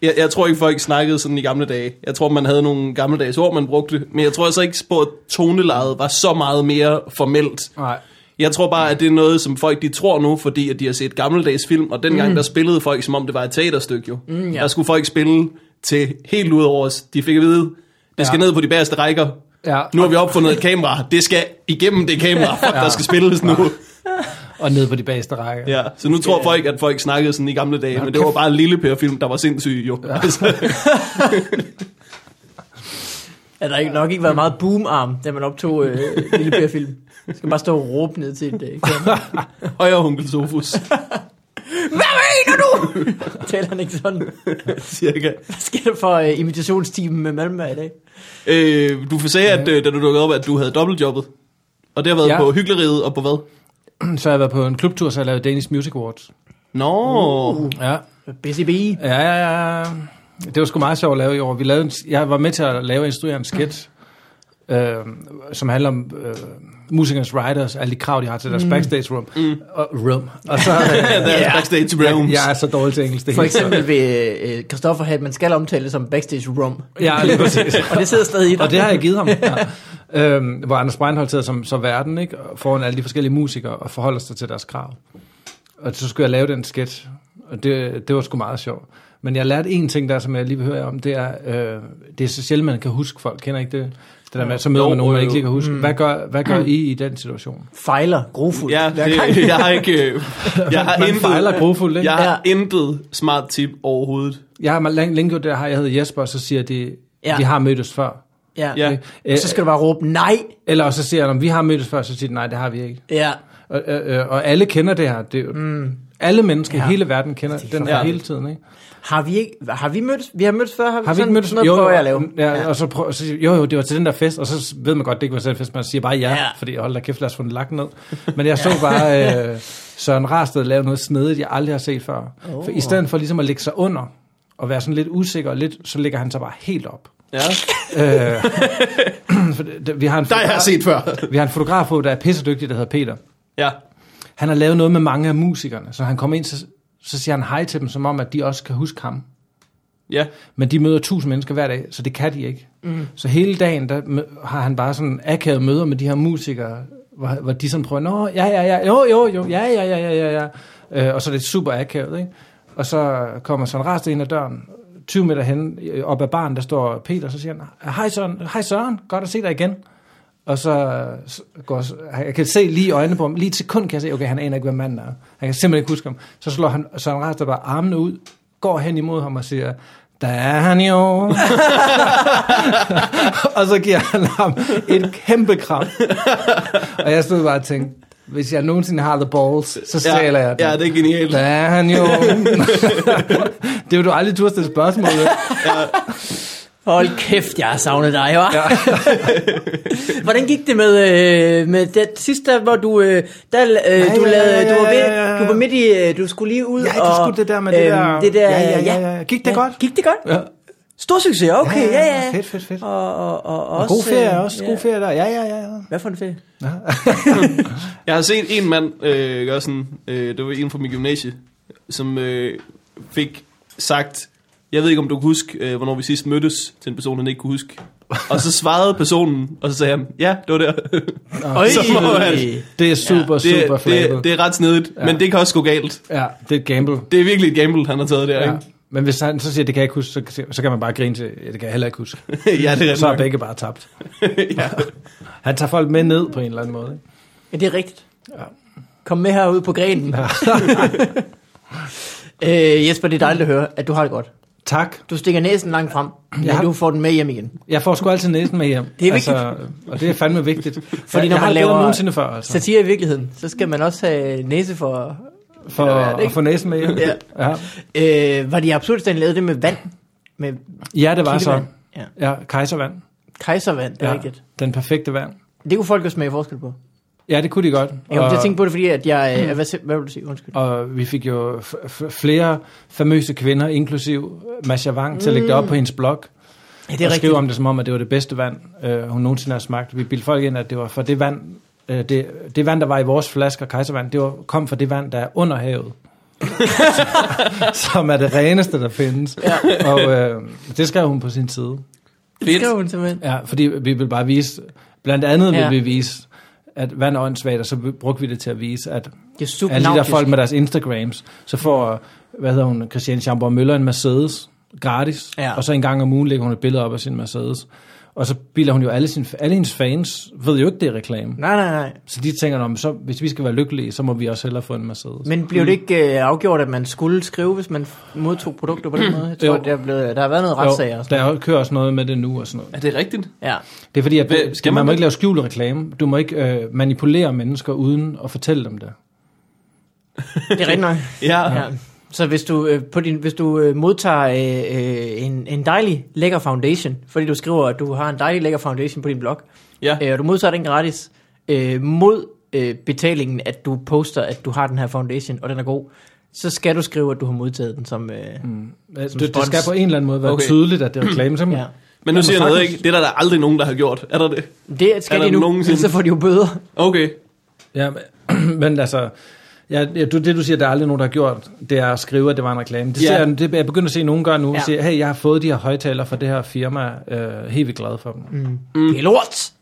Jeg, jeg tror ikke, folk snakkede sådan i gamle dage. Jeg tror, man havde nogle gammeldags ord, man brugte. Men jeg tror altså ikke på, at tonelejet var så meget mere formelt. Nej. Jeg tror bare, at det er noget, som folk de tror nu, fordi at de har set gammeldags film, og dengang mm. der spillede folk, som om det var et teaterstykke jo. Mm, ja. Der skulle folk spille til helt ud over os. De fik at vide, det skal Ja. ned på de bagerste rækker. Ja. Nu har vi opfundet et kamera. Det skal igennem [laughs] det kamera, fuck, der skal spilles nu. Og ned på de bagerste rækker. Ja, så nu tror folk, at folk snakkede sådan i gamle dage, men det var bare en lille Per-film, der var sindssyg jo. Ja. [laughs] Altså, Ja, der har ikke nok ikke været meget boomarm, da man optog øh, Lille Per film. Man skal bare stå og råbe ned til et øh, kamera. og jeg er onkel Sofus, Hvad mener du? [laughs] Taler han ikke sådan. cirka. Hvad sker der for øh, imitationsteamen med Malmø i dag? Øh, du sagde, at øh, da du dukkede op, at du havde dobbeltjobbet. Og det har været ja. Ja. på hyggeleriet og på hvad? [clears throat] Så har jeg været på en klubtur, så har jeg lavet Danish Music Awards. Nå, uh. Ja. Busy bee. Ja, ja, ja. Det var sgu meget sjovt at lave i år. Vi lavede en, jeg var med til at lave og instruere en sketch, øh, som handler om øh, musikernes writers, alle de krav, de har til deres mm. backstage room. Mm. Og, room. Og så, øh, Deres yeah. backstage rooms. jeg er så dårlig til engelsk. Det For hele. eksempel vil øh, Christoffer have, at man skal omtale det som backstage room. Ja, lige præcis. Og det sidder stadig i dig. Og det har jeg givet ham. [laughs] Ja. Øhm, hvor Anders Breinholt sidder som, som verden, ikke? Og foran alle de forskellige musikere og forholder sig til deres krav. Og så skulle jeg lave den sketch, og det, det var sgu meget sjovt. Men jeg lærte en ting der, som jeg lige vil høre jer om, det er, øh, det er så sjældent, man kan huske folk. Kender I ikke det? Det der med, at så møder Jo, man nogen, man jo, ikke lige jo. kan huske. Hvad gør, hvad gør I i den situation? Fejler grofuldt. Ja, det, jeg har ikke... øh, Jeg har, Man intet, fejler grofuldt, ikke? jeg Jeg, har intet smart tip overhovedet. jeg har længe, længe gjort det her, jeg hedder Jesper, og så siger de, Ja. ja. vi har mødtes før. Ja. Ja. Øh, Så skal du bare råbe, nej! Eller så siger han, om vi har mødtes før, så siger de, nej, det har vi ikke. Ja. Og, øh, øh, og alle kender det her. Det, mm. Alle mennesker i Ja. hele verden kender den her forfærdeligt. hele tiden, ikke? Har vi ikke, har vi mødtes? Vi har mødtes før, har vi, Har vi ikke sådan- mødtes? Mm, Sådan noget prøver jeg at lave. Ja, ja. Og så prøver, så siger, jo, jo, det var til den der fest, og så ved man godt, det ikke var til den fest, man siger bare ja, Ja. ja. fordi hold da kæft, lad os få den lagt ned. Men jeg så bare øh, Søren Rarsted lave noget snedigt, jeg aldrig har set før. Oh. For i stedet for ligesom at lægge sig under, og være sådan lidt usikker, lidt, så ligger han sig bare helt op. Ja. Øh, for det- det- vi, har en, Der jeg har set [laughs] før. vi har en fotograf på, der er pissedygtig, der hedder Peter. ja. Han har lavet noget med mange af musikerne, så han kommer ind, så, så siger han hej til dem, som om, at de også kan huske ham. Ja. Men de møder tusind mennesker hver dag, så det kan de ikke. Mm. Så hele dagen der mø- har han bare sådan akavet møder med de her musikere, hvor, hvor de sådan prøver, nå, ja, ja, ja, jo, jo, jo, ja, ja, ja, ja, ja, ja. Øh, og så er det super akavet, ikke? Og så kommer Søren Rarsted ind ad døren, 20 meter hen, øh, op ad baren, der står Peter, så siger han, hej Søren, hej Søren, godt at se dig igen. Og så så går, jeg kan se lige i øjnene på ham, lige et sekund kan jeg se, okay, han aner ikke, hvad manden er. Han kan simpelthen ikke huske ham. Så slår han Søren Raster bare armene ud, går hen imod ham og siger, der er han jo. [laughs] og så giver han ham et kæmpe kram. og jeg stod bare og tænkte, hvis jeg nogensinde har the balls, så Ja, stjæler jeg den. ja, det er genialt. Der er han jo. [laughs] det vil du aldrig turde stille spørgsmål. ved. Hold kæft, jeg har savnet dig, hva'? Ja. [laughs] Hvordan gik det med, øh, med det sidste, der, hvor du, øh, der, øh, ja, du, ja, lavede, ja, du, var ved, ja, ja, ja. du var midt i, øh, du skulle lige ud Ja, du og... øhm, skulle det der med det der- det der Ja, ja, ja, ja, ja. Gik det godt? Gik det godt? Ja. Stor succes, okay, ja, ja. Fedt, fedt, fedt. Og, Og, og, og, og og god også, ferie øh, også, god ferie der. Ja, ja, ja. ja. Hvad for en ferie? Jeg har set en mand øh, gøre sådan, øh, det var en fra min gymnasie, som øh, fik sagt, jeg ved ikke om du kan huske, øh, hvornår vi sidst mødtes til en person, han ikke kunne huske. Og så svarede personen, og så sagde han, ja, det var der. Øj, så må man, Det er super, ja, super det, flabet. det, det er ret snedigt, ja. men det kan også gå galt. Ja, det er et gamble. Det er virkelig et gamble, han har taget der, ja. Ja. ikke? Men hvis han så siger, det kan jeg ikke huske, så, så kan man bare grine til, [laughs] ja, det kan jeg heller ikke huske. ja, det er ret Så er nok. begge bare [laughs] tabt. Han tager folk med ned på en eller anden måde. Ikke? Ja, det er rigtigt. Kom med herude på grenen. [laughs] øh, Jesper, det er dejligt at høre, at du har det godt. Tak. Du stikker næsen langt frem, men Jeg har- du får den med hjem igen. Jeg får sgu altid næsen med hjem. Det er vigtigt. Og det er fandme [laughs] vigtigt. Fordi når jeg, jeg man har laver lavet nogensinde før, altså, Satire i virkeligheden, så skal man også have næse for... for Ja, det er at få næsen med hjem. Ja. Ja. Øh, var det absurd, at han lavede det med vand? Med ja, det var så. kildevand? Ja. Ja, kejservand. Kejservand, det er ja. Ja, rigtigt. den perfekte vand. Det kunne folk jo smage forskel på. Ja, det kunne de godt. Jeg kom til at Og- tænke på det, fordi at jeg... Øh, hvad, se- hvad vil du sige? Undskyld. Og vi fik jo f- f- flere famøse kvinder, inklusiv Masha Wang, til at lægge Mm. det op på hendes blog. Ja, det Det er og rigtigt. skrive om det som om, at det var det bedste vand, øh, hun nogensinde har smagt. Vi bildte folk ind, at det var for det vand, øh, det, det vand, der var i vores flasker, kejservand, det var, kom fra det vand, der er under [laughs] havet. som er det reneste, der findes. Ja. Og øh, det skrev hun på sin side. Det skrev hun simpelthen. Ja, fordi vi ville bare vise, blandt andet ja. Ja. ville vi vise, at vand er åndssvagt, og så brugte vi det til at vise, at Det er super alle de der folk med deres Instagrams, så får, hvad hedder hun, Christiane Schamborg Møller en Mercedes gratis, Ja. ja. og så en gang om ugen lægger hun et billede op af sin Mercedes. Og så bilder hun jo alle, sin, alle hendes fans, ved jo ikke, det er reklame. Nej, nej, nej. Så de tænker, "Nå, men så, hvis vi skal være lykkelige, så må vi også hellere få en Mercedes. Men, Men blev det ikke øh, afgjort, at man skulle skrive, hvis man f- modtog produkter på den måde? Jeg tror, Jo. der, er blevet, der har været noget retssager. og jo, sådan der er jo- kører også noget med det nu og sådan noget. Er det rigtigt? noget. Ja. Det er fordi, at Hvad- skal man, man må det? ikke lave skjult reklame. Du må ikke øh, manipulere mennesker uden at fortælle dem det. Det er rigtigt nok. Ja. ja. Ja. Så hvis du, øh, på din, hvis du øh, modtager øh, øh, en, en dejlig lækker foundation, fordi du skriver, at du har en dejlig lækker foundation på din blog, ja. øh, og du modtager den gratis, øh, mod øh, betalingen, at du poster, at du har den her foundation, og den er god, så skal du skrive, at du har modtaget den som... Øh, mm. Det, det spons. skal på en eller anden måde være Okay. okay. tydeligt, at det er reklame. Så ja. Men nu Jamen, siger jeg noget, sagtens. ikke? Det er der, der aldrig nogen, der har gjort. Er der det? Det skal Er de der nu, nogensinde- ellers så får de jo bøder. Okay. Ja, men, [clears throat] men altså, ja, ja, du, det du siger, der er aldrig nogen, der har gjort, det er at skrive, at det var en reklame. Det, Ja. ja. ser, jeg- det jeg begynder at se nogen gøre nu, Ja. ja. siger, hey, jeg har fået de her højtaler fra det her firma, øh, helt vildt glad for dem. Mm. Mm. Det er lort!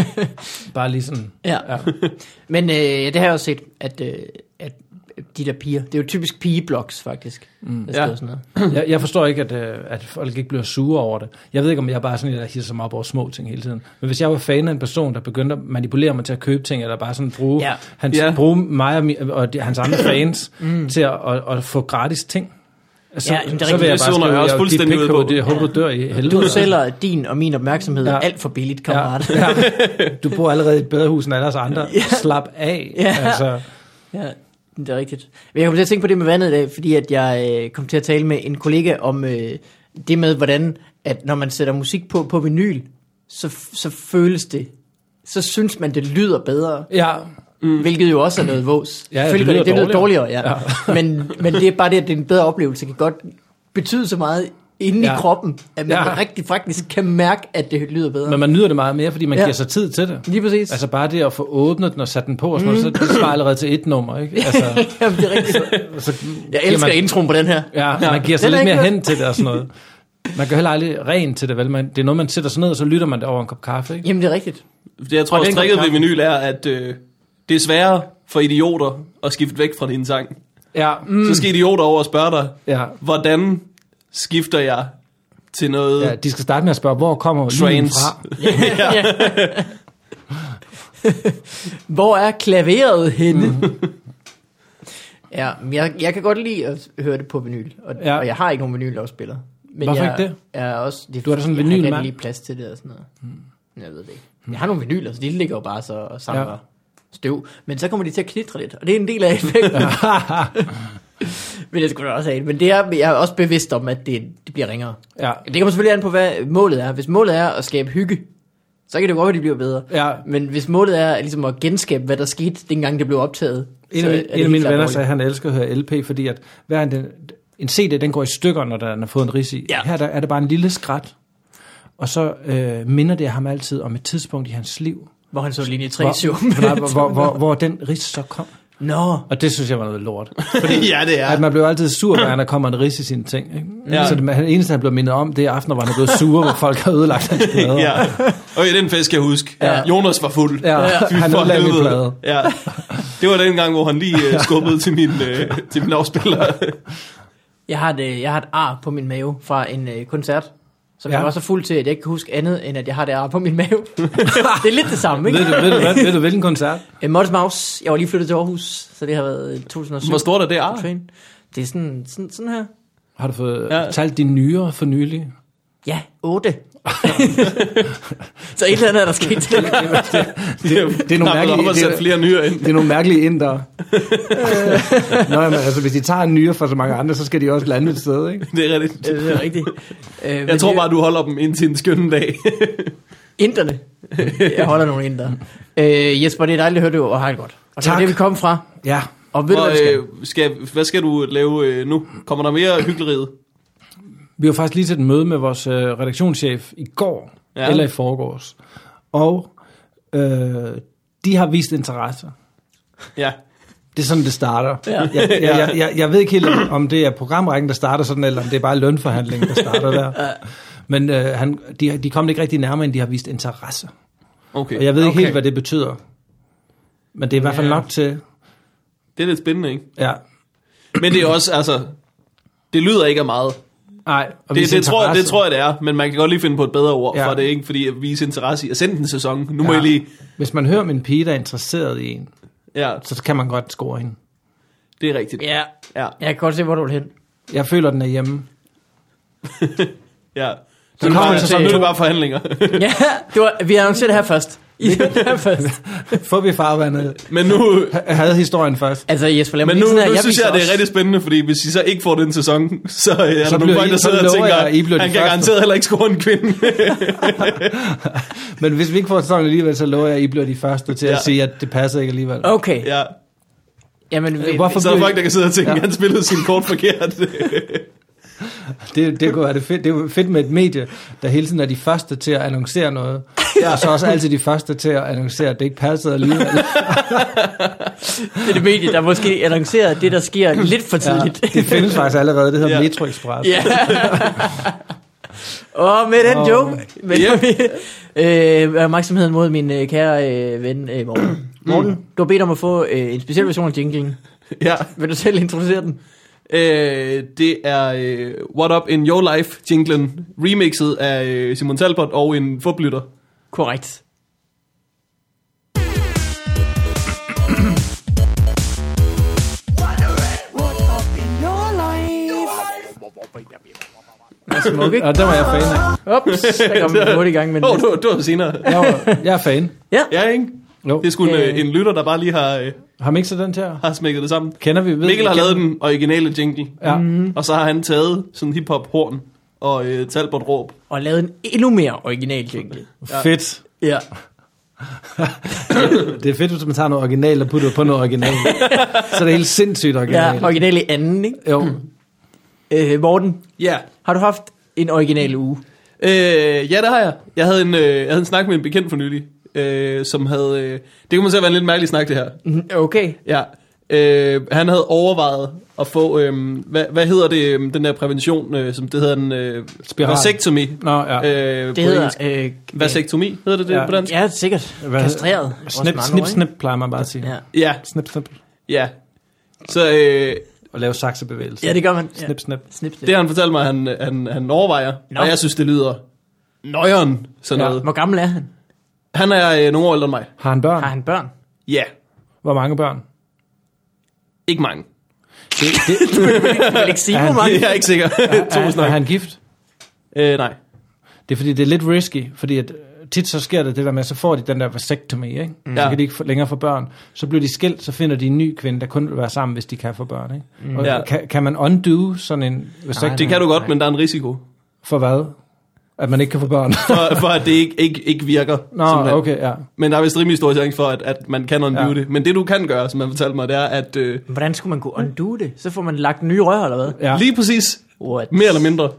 [laughs] Bare lige sådan, [clears throat] Ja. ja. [laughs] Men øh, det har jeg også set, at, øh, at de der piger, det er jo typisk pigeblogs faktisk, mm. der skriver Ja. sådan noget. jeg, jeg forstår ikke, at, øh, at folk ikke bliver sure over det. Jeg ved ikke, om jeg er bare er sådan en, der hisser mig op over små ting hele tiden. Men hvis jeg var fan af en person, der begyndte at manipulere mig til at købe ting, eller bare sådan bruge, Ja. ja. Hans, Ja. bruge mig og, mi, og de, hans andre fans mm. til at, at, at få gratis ting, Altså, Ja, jamen, det er så rigtigt. vil jeg Det bare zoner skrive, jeg også jeg vil give fuldstændig pik ud på på. det. Jeg håber, du dør i helvede. Du sælger din og min opmærksomhed Ja. ja. alt for billigt, Ja, kammerat. [laughs] ja. Du bor allerede i et bedre hus end alle os andre. Ja. Slap af. Ja. Altså, Ja, det er rigtigt. Men jeg kom til at tænke på det med vandet i dag, fordi at jeg øh, kom til at tale med en kollega om øh, det med, hvordan at når man sætter musik på på vinyl, så, så føles det, så synes man, det lyder bedre. ja. Mm. Hvilket jo også er noget vås. Ja, ja, det Selvfølgelig gør lyder det lyder dårligere. dårligere, ja. ja. men, men det er bare det, at det er en bedre oplevelse, kan godt betyde så meget inde ja. Ja. i kroppen, at man Ja. ja. rigtig faktisk kan mærke, at det lyder bedre. Men man nyder det meget mere, fordi man ja. Ja. giver sig tid til det. Lige præcis. Altså bare det at få åbnet den og sat den på, og sådan noget, så det svarer allerede til et nummer, ikke? Altså, Jamen, det er rigtigt. [laughs] så, Jeg elsker man, introen på den her. Ja, man giver sig Den er lidt mere ikke- hen til det og sådan noget. Man gør heller aldrig rent til det, vel? Man, det er noget, man sætter sig ned, og så lytter man det over en kop kaffe, ikke? Jamen, det er rigtigt. Det, jeg tror, Og også den kom tricket ved kampen. vinyl er, at øh, det er sværere for idioter at skifte væk fra din sang. Ja, Mm. Så skal idioter over og spørge dig, ja. hvordan skifter jeg til noget [laughs] Ja, de skal starte med at spørge, hvor kommer lyden trance? fra? [laughs] Hvor er klaveret henne? Mhm. [laughs] ja, men jeg, jeg kan godt lide at høre det på vinyl, og, Ja. ja. og jeg har ikke nogen vinylafspiller. Men Hvorfor jeg, ikke det? Jeg er også, det Du er da sådan en Mm. jeg har ikke vinylmand. rigtig lige plads til det og sådan noget. Hmm. Jeg ved det ikke. Jeg har nogle vinyler, så de ligger jo bare så og samler Ja. ja. støv. Men så kommer de til at knitre lidt, og det er en del af [laughs] effekten. men jeg skulle da også have det. Men det er, jeg er også bevidst om, at det, det bliver ringere. Ja, Det kommer selvfølgelig an på, hvad målet er. Hvis målet er at skabe hygge, så kan det jo godt være, de bliver bedre. ja. Men hvis målet er ligesom at genskabe, hvad der skete, dengang det blev optaget, En så af, er mine, det en af helt mine klart venner dårligt. sagde, at han elsker at høre LP, fordi at hver en, den, en CD, den går i stykker, når der den har fået en ris i. Ja. Ja. Her der, er det bare en lille skrat. Og så øh, minder det ham altid om et tidspunkt i hans liv, Hvor han så linje 3 hvor, nej, hvor, hvor, hvor, hvor den ris så kom. [laughs] Nå, Og det synes jeg var noget lort. ja, det Ja. At man blev altid sur, når der kommer en ris i sine ting. Ikke? Ja. Ja. Så det, det eneste, han blev mindet om, det er aftener, hvor han er blevet sur, hvor folk har ødelagt [laughs] hans plader. ja. Okay, den fest skal jeg huske. Ja. Ja. Jonas var fuld. [laughs] Ja, Fy han for ødelagde min helvede. plade. Ja. Det var den gang, hvor han lige [laughs] øh, skubbede til min, øh, til min afspiller. Jeg har, et, øh, jeg har et ar på min mave fra en øh, koncert, som Ja. ja. jeg var så fuld til, at jeg ikke kan huske andet, end at jeg har det ar på [laughs] min mave. det er lidt det samme, Ved ikke? du, ved, du, hvad, ved du hvilken koncert? [laughs] Øh, Modest Mouse, jeg var lige flyttet til Aarhus, så det har været øh, 2007. [laughs] Hvor stort er det ar? Train. Det er sådan, sådan, sådan her. Har du fået ja. Ja. talt dine nyere for nylig? Ja, [laughs] 8. [laughs] så et eller andet er der sket. det er nogle mærkelige- op og det er- sat flere nyere ind. Det er nogle mærkelige indere. Nå, men altså, hvis de tager en nyere fra så mange andre, så skal de også lande et sted, ikke? Det er rigtigt. Øh, det er rigtigt. Øh, Jeg men tror det- bare, du holder dem indtil en skøn dag. Inderne. [laughs] Jeg holder nogle inder. Øh, Jesper, det er dejligt at høre det, og har det godt. Og det er Tak. det, vi kom fra. Ja. Og ved du, Hvor, hvad vi skal? øh, skal, hvad skal du lave øh, nu? Kommer der mere hyggeleriet? Vi var faktisk lige til et møde med vores øh, redaktionschef i går, ja. Ja. eller i forgårs. Og øh, de har vist interesse. Ja. Det er sådan, det starter. Ja. Jeg, jeg, jeg, jeg, jeg ved ikke helt, om det er programrækken, der starter sådan, eller om det er bare lønforhandlingen, der starter der. Men øh, han, de, de kom ikke rigtig nærmere, end de har vist interesse. Okay. Og jeg ved ikke Okay. helt, hvad det betyder. Men det er i hvert fald Ja. nok til... Det er lidt spændende, ikke? Ja. Men det er også, altså... Det lyder ikke af meget. Nej, og Det, vise det, tror, interesse. det tror jeg, det er, men man kan godt lige finde på et bedre ord Ja. ja. for det, ikke? Fordi at vise interesse i at sende en sæson. Nu må Ja. jeg lige... Hvis man hører om en pige, der er interesseret i en, Ja, så kan man godt score hende. det er rigtigt. Ja, Ja, jeg kan godt se, hvor du vil hen. Jeg føler, den er hjemme. ja. Så Så, nu kommer er der det bare, så sæson nu er det to. bare forhandlinger. [laughs] Ja, det var, vi annoncerer det her [laughs] først. I det her først. Får vi farvandet? Men nu, Jeg havde historien først. Altså Jesper, lad mig men lige nu, sådan her. nu synes viser jeg, det også- er rigtig spændende, fordi hvis I så ikke får den sæson, [laughs] så øh, er Så der nogle bliver I- folk, der så sidder og lover tænker, jeg, at I bliver de han kan første." garanteret heller ikke score en kvinde. [laughs] Men hvis vi ikke får sæsonen alligevel, så lover jeg, at I bliver de første til ja. at Ja. sige, at det passer ikke alligevel. Okay, ja. ja. jamen vi, Hvorfor Så er der bliver I- folk, der kan sidde og tænke, Ja. ja. han spillede sin kort forkert. Det, det kunne være det fedt. Det er jo fedt med et medie, der hele tiden er de første til at annoncere noget. Ja. Og så også altid de første til at annoncere, at det ikke passede alligevel. det er det medie, der måske annoncerer det, der [laughs] sker lidt for tidligt. det findes faktisk allerede. Det hedder ja. Ja. Metro Express. Ja. Og med den Åh. joke, med, yep. [laughs] øh, er opmærksomheden mod min øh, kære øh, ven øh, Morten. Morten, du har bedt om at få øh, en speciel version af jinglen. [laughs] ja. Vil du selv introducere den? Øh, det er øh, What Up In Your Life jinglen, remixet af øh, Simon Talbot og en fodlytter. Korrekt. What up in your life? Smuk, ikke? Og der var jeg fan af. Ups, der kom vi hurtigt i gang med Åh, oh, det. du, du var senere. Jeg, var, jeg er fan. Ja, ikke? Jo. Det er sgu en, Ja. øh, en lytter, der bare lige har, øh, Har man ikke så den her? har smækket det sammen. Kender vi? Ved Mikkel vi- har lavet Mm. den originale jingle, Ja. og så har han taget sådan hiphop-horn og øh, Talbot råb. Og lavede en endnu mere original jingle. Fedt. Ja. Det er fedt, hvis man tager noget originalt og putter på noget originalt. så det er helt sindssygt originalt. ja, Mm. original i anden, ikke? Jo. Øh, Morten, Ja. har du haft en original uge? Øh, ja, det har jeg. Jeg havde en, øh, jeg havde en snak med en bekendt for nylig, øh, som havde... Øh, det kunne man se at være en lidt mærkelig snak, det her. Okay. Ja. Øh, han havde overvejet at få, øh, hvad, hvad hedder det, øh, den der prævention, øh, som det hedder en øh, Spiral. vasektomi. Nå, ja. Øh, Det på hedder... engelsk. Øh, Vasektomi, hedder det det Ja. på dansk? ja, sikkert. Hvad- Kastreret. også Snip, med andre snip, ord, ikke? snip, plejer man bare at sige. Ja. Ja, Snip, snip. ja. Så øh, Og lave saksebevægelser. ja, det gør man. Ja. Snip, snip. Snip, snip. det har han fortalt mig, han, han, han overvejer, Nå. og jeg synes, det lyder nøjeren, sådan Ja. noget. Hvor gammel er han? Han er øh, nogle år ældre end mig. Har han børn? Har han børn? Ja, Hvor mange børn? ikke [laughs] mange. Det, [laughs] det, Jeg vil ikke sige, Er hvor han- mange. Det er jeg ikke sikker. [laughs] er, er han gift? øh, nej. Det er fordi, det er lidt risky, fordi at øh, tit så sker det det der med, så får de den der vasectomy, ikke? Mm. Så Ja. kan de ikke få- længere få børn. Så bliver de skilt, så finder de en ny kvinde, der kun vil være sammen, hvis de kan få børn, ikke? Mm. Og Ja. ja. kan, kan man undo sådan en vasectomy Det kan du godt, men der er en risiko for hvad? At man ikke kan få [laughs] børn? for, for at det ikke, ikke, ikke virker. Nå, simpelthen. okay, ja. Men der er vist rimelig stor chance for, at, at man kan undo ja. Ja. det. Men det du kan gøre, som han fortalte mig, det er, at øh, Hvordan skulle man kunne undo det? Så får man lagt nye rør, eller hvad? ja. ja. lige præcis, What? mere eller mindre,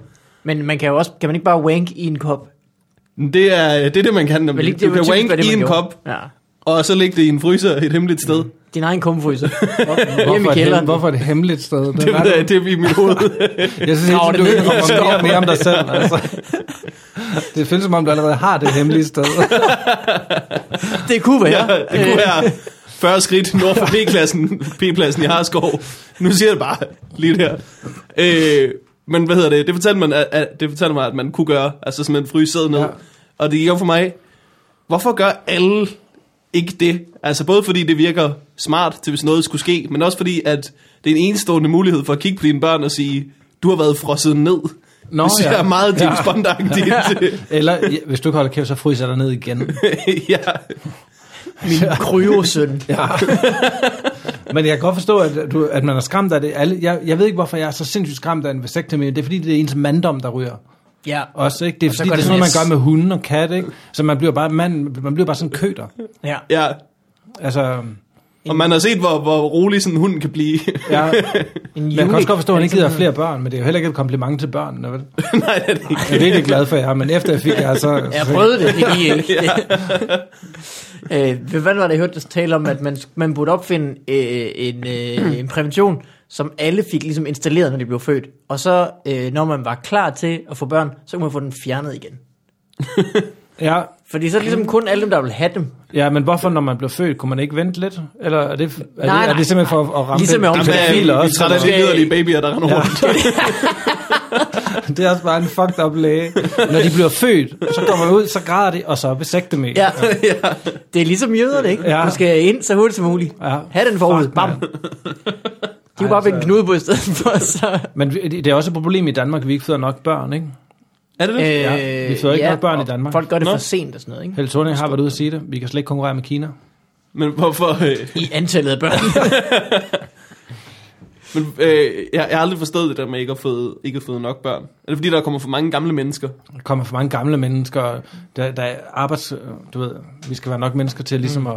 Men man kan jo også, kan man ikke bare wank i en kop? det er det, er det man kan. Nemlig. Vel, ikke- du var kan typisk, wank hvad i man en gjorde. kop, Ja. og så lægge det i en fryser et hemmeligt sted. Mm. Din egen kumfryser. Hjemme Hvorfor, i et, kælderen. hem- hvorfor et hemmeligt sted? [laughs] Det, Det, det, er, det er i mit hoved. Jeg synes, Grav ikke, det du ned. ikke mere, mere om dig [laughs] selv. Altså. Det føles som om, du allerede har det hemmelige sted. Det kunne være. Øh, ja, det kunne være 40 skridt nord for P-klassen, P-pladsen i Harskov. Nu siger jeg det bare lige der. Øh, men hvad hedder det? Det fortalte, man, at, at, det fortalte mig, at man kunne gøre, altså simpelthen fryse sædet ned. Ja. Ja. Og det gik op for mig, hvorfor gør alle ikke det? Altså både fordi det virker smart til, hvis noget skulle ske, men også fordi, at det er en enestående mulighed for at kigge på dine børn og sige, du har været frosset ned. Nå, [laughs] Nå, det ser ja. ja. meget Ja. James bond [laughs] Eller ja, hvis du ikke holder kæft, så fryser jeg dig ned igen. [laughs] [laughs] ja. Min kryosøn. Men jeg kan godt forstå, at, du, at man er skræmt af det. Alle, jeg, jeg ved ikke, hvorfor jeg er så sindssygt skræmt af en vasectomy. Det er fordi, det er ens manddom, der ryger. Ja. Også, ikke? Det er så fordi, går det er det sådan noget, man næs. gør med hunde og katte. Ikke? Så man bliver bare, man, man bliver bare sådan en køter. ja. ja. Altså, Og man har set, hvor, hvor rolig sådan en hund kan blive. [laughs] jeg, En men jeg kan også godt forstå, at han ikke gider have gider flere børn, men det er jo heller ikke et kompliment til børnene. Vel? Nej, det er det ikke. Jeg er virkelig glad for jer, men efter jeg fik jer, så... [laughs] Jeg prøvede det, det gik ikke. [laughs] øh, ved- hvad var det, jeg hørte dig tale om, at man, man burde opfinde øh, en, øh, en prævention, som alle fik ligesom installeret, når de blev født. Og så, øh, når man var klar til at få børn, så kunne man få den fjernet igen. Ja, Fordi så er det ligesom kun alle dem, der vil have dem. Ja, men hvorfor, når man blev født, kunne man ikke vente lidt? Eller er det, er Nej, det, er nej. det simpelthen for at- at ramme Ligesom med den- Jamen, den pædofile der er vi også? træt af de liderlige babyer, der render [laughs] rundt. eller? Det er også bare en fucked up læge. Når de bliver født, så kommer man ud, så græder de, og så er med. [laughs] Ja. Det er ligesom jøderne, ikke? Ja. Ja. Du skal ind så hurtigt som muligt. Ja. Ha' den forud. Fuck, Bam. mand. De kunne bare altså. vende en knude på i stedet for. Så. Men vi- det er også et problem i Danmark, at vi ikke føder nok børn, ikke? Er det det? Ja, vi føder ikke nok børn i Øh, og Danmark. Folk gør det Nå. for sent og sådan noget, ikke? Helle Thorning har været ude at sige det. Vi kan slet ikke konkurrere med Kina. Men hvorfor... Øh, I antallet af børn. [laughs] men, øh, jeg, jeg har aldrig forstået det der med ikke at føde, ikke at føde nok børn. Er det fordi, der kommer for mange gamle mennesker? Der kommer for mange gamle mennesker, og der, der er arbejds... Du ved, vi skal være nok mennesker til ligesom Mm. at...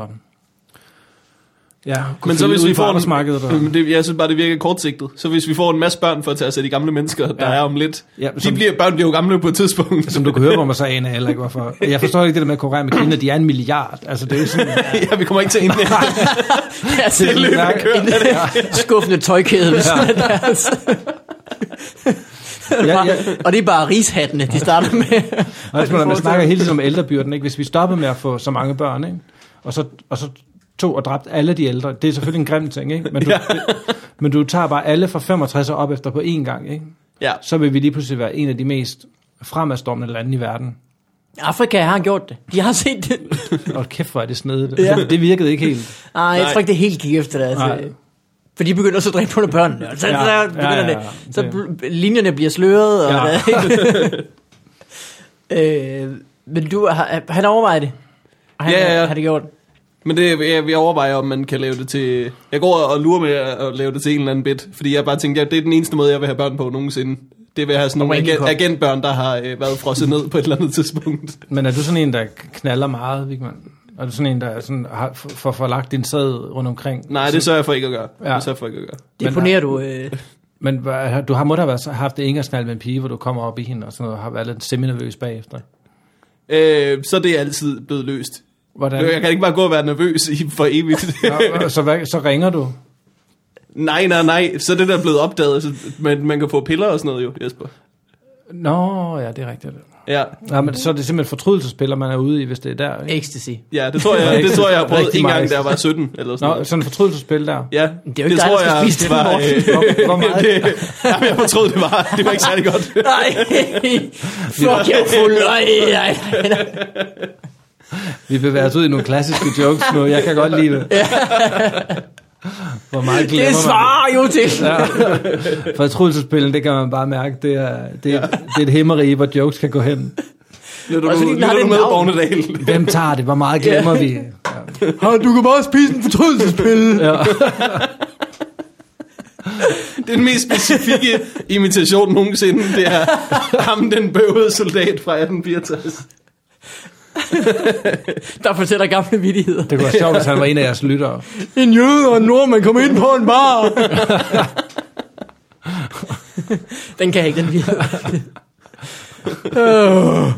Ja, kunne Men så fylde hvis ud vi på får arbejdsmarkedet, og, en, men det, jeg synes bare, det virker kortsigtet. Så hvis vi får en masse børn for at tage os af de gamle mennesker, der Ja. er om lidt. Ja, de som- bliver, børn bliver jo gamle på et tidspunkt. som du kan høre, hvor man så aner heller ikke, hvorfor. Jeg forstår ikke det der med at konkurrere med Kina. De er en milliard. Altså, det er jo [laughs] sådan, [laughs] ja, vi kommer ikke til [laughs] at indlægge altså, det løb, der kører. en skuffende tøjkæde ved siden af deres. Ja, ja. Og det er bare rishattene, de starter med. Og Det spørger, man forestiller snakker jeg. hele tiden om ældrebyrden, ikke? Hvis vi stopper med at få så mange børn, ikke? Og så, og så tog og dræbt alle de ældre. Det er selvfølgelig en grim ting, ikke? Men du, ja. men du tager bare alle fra 65 og op efter på én gang, ikke? Ja, Så vil vi lige pludselig være en af de mest fremadstormende lande i verden. Afrika har gjort det. De har set det. Og kæft, hvor er det snedigt. Ja. Ja. Det, det virkede ikke helt. Ej, Ah, jeg Nej. tror ikke, det helt gik efter det. Altså. Nej. For de begynder så at dræbe under børnene. Og så, ja, så begynder ja, ja, ja. det. Så Det- bl- linjerne bliver sløret. Og Ja. ja. [laughs] øh, men du har, han overvejer det. Og Han, Ja, ja, ja. Har det gjort. Men det, jeg, jeg overvejer, om man kan lave det til... Jeg går og lurer med at at lave det til en eller anden bit, fordi jeg bare tænkte, at det er den eneste måde, jeg vil have børn på nogensinde. Det vil have sådan nogle Wrinkle agent, cup. agentbørn, der har øh, været frosset ned på et eller andet tidspunkt. Men er du sådan en, der knaller meget, Vigman? Er du sådan en, der sådan har, får forlagt din sæd rundt omkring? Nej, det sørger jeg for ikke at gøre. Ja. Det sørger jeg for ikke at gøre. Det Men- imponerer du. Øh, Men hva- du har, må da have været- haft det engangsnald med en pige, hvor du kommer op i hende og sådan noget, og har været lidt semi-nervøs bagefter. Øh, så det er altid blevet løst. Hvordan? Jeg kan ikke bare gå og være nervøs i, for [laughs] evigt. Nå, så, hvad, så ringer du. nej, nej, nej. Så er det der er blevet opdaget. Så man, man kan få piller og sådan noget jo, Jesper. Nå, ja, det er rigtigt. Ja, Ja, men så er det simpelthen fortrydelsespiller, man er ude i, hvis det er der. Ikke? ecstasy. [laughs] ja det tror jeg, det tror jeg, jeg har prøvet Rigtig en gang, meget. da jeg var 17 eller sådan Nå, noget. sådan en fortrydelsespil der. Ja, det er jo ikke dig, der skal spise det, Morten. Hvor, hvor meget? øh, [laughs] det, jamen, jeg fortrød, det var, det var ikke særlig godt. Nej, [laughs] fuck, jeg er fuld. Ej, ej, ej. Vi bevæger os ud i nogle klassiske jokes nu. Jeg kan godt lide det. Hvor meget glemmer Det svarer jo til. man. Ja. Fortrydelsespillen, det kan man bare mærke. Det er, det er, det er et hemmerige, hvor jokes kan gå hen. Lytter Også du, fordi den har lytter du det med, navn. Bornedal? Hvem tager det? Hvor meget glemmer vi? Ha, du kan bare spise en fortrydelsespille. Ja. Den mest specifikke imitation nogensinde, det er ham, den bøvede soldat fra 1864. Der fortæller gamle vittigheder. Det kunne være sjovt, hvis han var en af jeres lyttere. En jøde og en nordmand kom ind på en bar. den kan jeg ikke, den virker. Øh.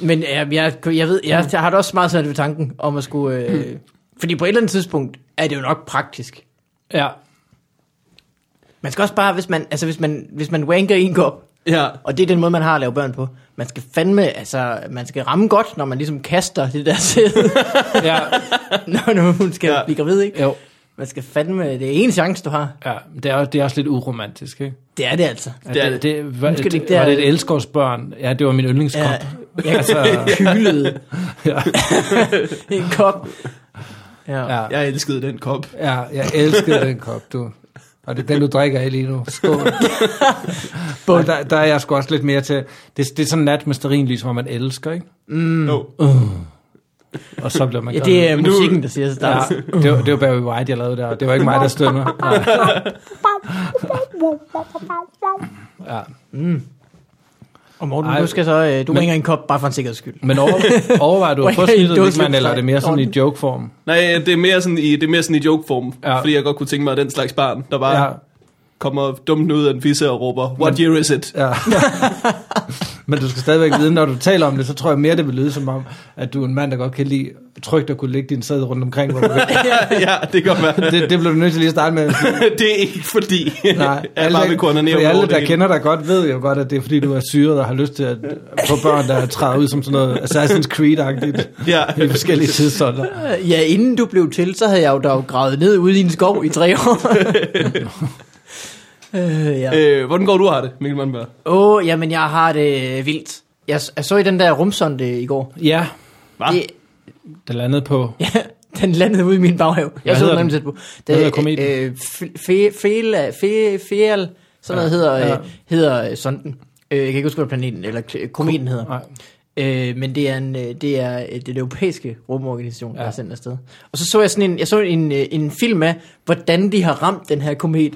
Men jeg, jeg, jeg ved, jeg, jeg har det også meget svært ved tanken om at skulle... Øh, fordi på et eller andet tidspunkt er det jo nok praktisk. Ja. Man skal også bare, hvis man, altså hvis man, hvis man wanker i en kop, Ja, og det er den måde, man har at lave børn på. Man skal fandme, altså, man skal ramme godt, når man ligesom kaster det der sæde, [laughs] ja. når nu hun skal Ja. ja. blive gravid, ikke? Jo. Man skal fandme, det er en chance, du har. Ja, det er, også- det er også lidt uromantisk, ikke? Det er det altså. At Det er det, det, var, Nu skal det, det ikke der- var det et elskovsbørn? Ja, det var min yndlingskop. Ja, Ja. jeg altså, kylede Ja. en kop. Ja. ja. Ja. jeg elskede den kop. Ja, jeg elskede den kop, du. Og det er den, du drikker af lige nu. Skål. [laughs] Og der, der er jeg sgu også lidt mere til... Det, det er sådan en nat med sterinlys, hvor man elsker, ikke? Mm. No. Og så bliver man Ja, glad. det er Men nu- musikken, der siger sig Ja, der. det, var, det var Barry White, jeg lavede der. Det var ikke mig, der stønner. Ja. Ja. Og Morten, Ej, du skal så, øh, du men- ringer en kop, bare for en sikkerheds skyld. Men over, overvejer du at få Okay, snittet, det var hvis man, slet eller er det mere sådan i ikke- joke-form? Nej, det er mere sådan i, det er mere sådan i jokeform, Ja. ja. fordi jeg godt kunne tænke mig, at den slags barn, der bare Ja, ja. kommer dumt ud af en fisse og råber, what year [laughs] is it? ja. Men du skal stadigvæk vide, når du taler om det, så tror jeg mere, det vil lyde som om, at du er en mand, der godt kan lide trygt at kunne lægge din sæd rundt omkring. Hvor du vil. ja, det kan godt være. det, det blev du nødt til lige at [laughs] starte med. det er ikke fordi, Nej, [laughs] jeg bare vil kunne for ned alle, der kender dig godt, ved jo godt, at det er fordi, du er syret og har lyst til at få børn, der træder ud som sådan noget Assassin's Creed-agtigt Ja. i forskellige tidsalder. Øh, Ja, inden du blev til, så havde jeg jo dog gravet ned ude i en skov i tre år. øh, ja. Øh, hvordan går du har det, Mikkel Mandberg? Åh, oh, jamen jeg har det øh, vildt. Jeg, s- jeg så i den der rumsonde øh, i går. Ja, Hva? Det, [laughs] det landede på... ja, den landede ude i min baghave. Jeg så hedder den nemlig den? Hvad tæt på. hedder øh, kometen? øh, fe- fe- Fela, fe- Feal, sådan noget hedder, ja. øh, hedder øh, sonden. Øh, Jeg kan ikke huske, hvad planeten, eller k- kometen hedder. Nej. Øh, men det er, en, øh, det er øh, den europæiske rumorganisation, ja. der Ja. er sendt afsted. Og så så jeg sådan en, jeg så en, øh, en film af, hvordan de har ramt den her komet.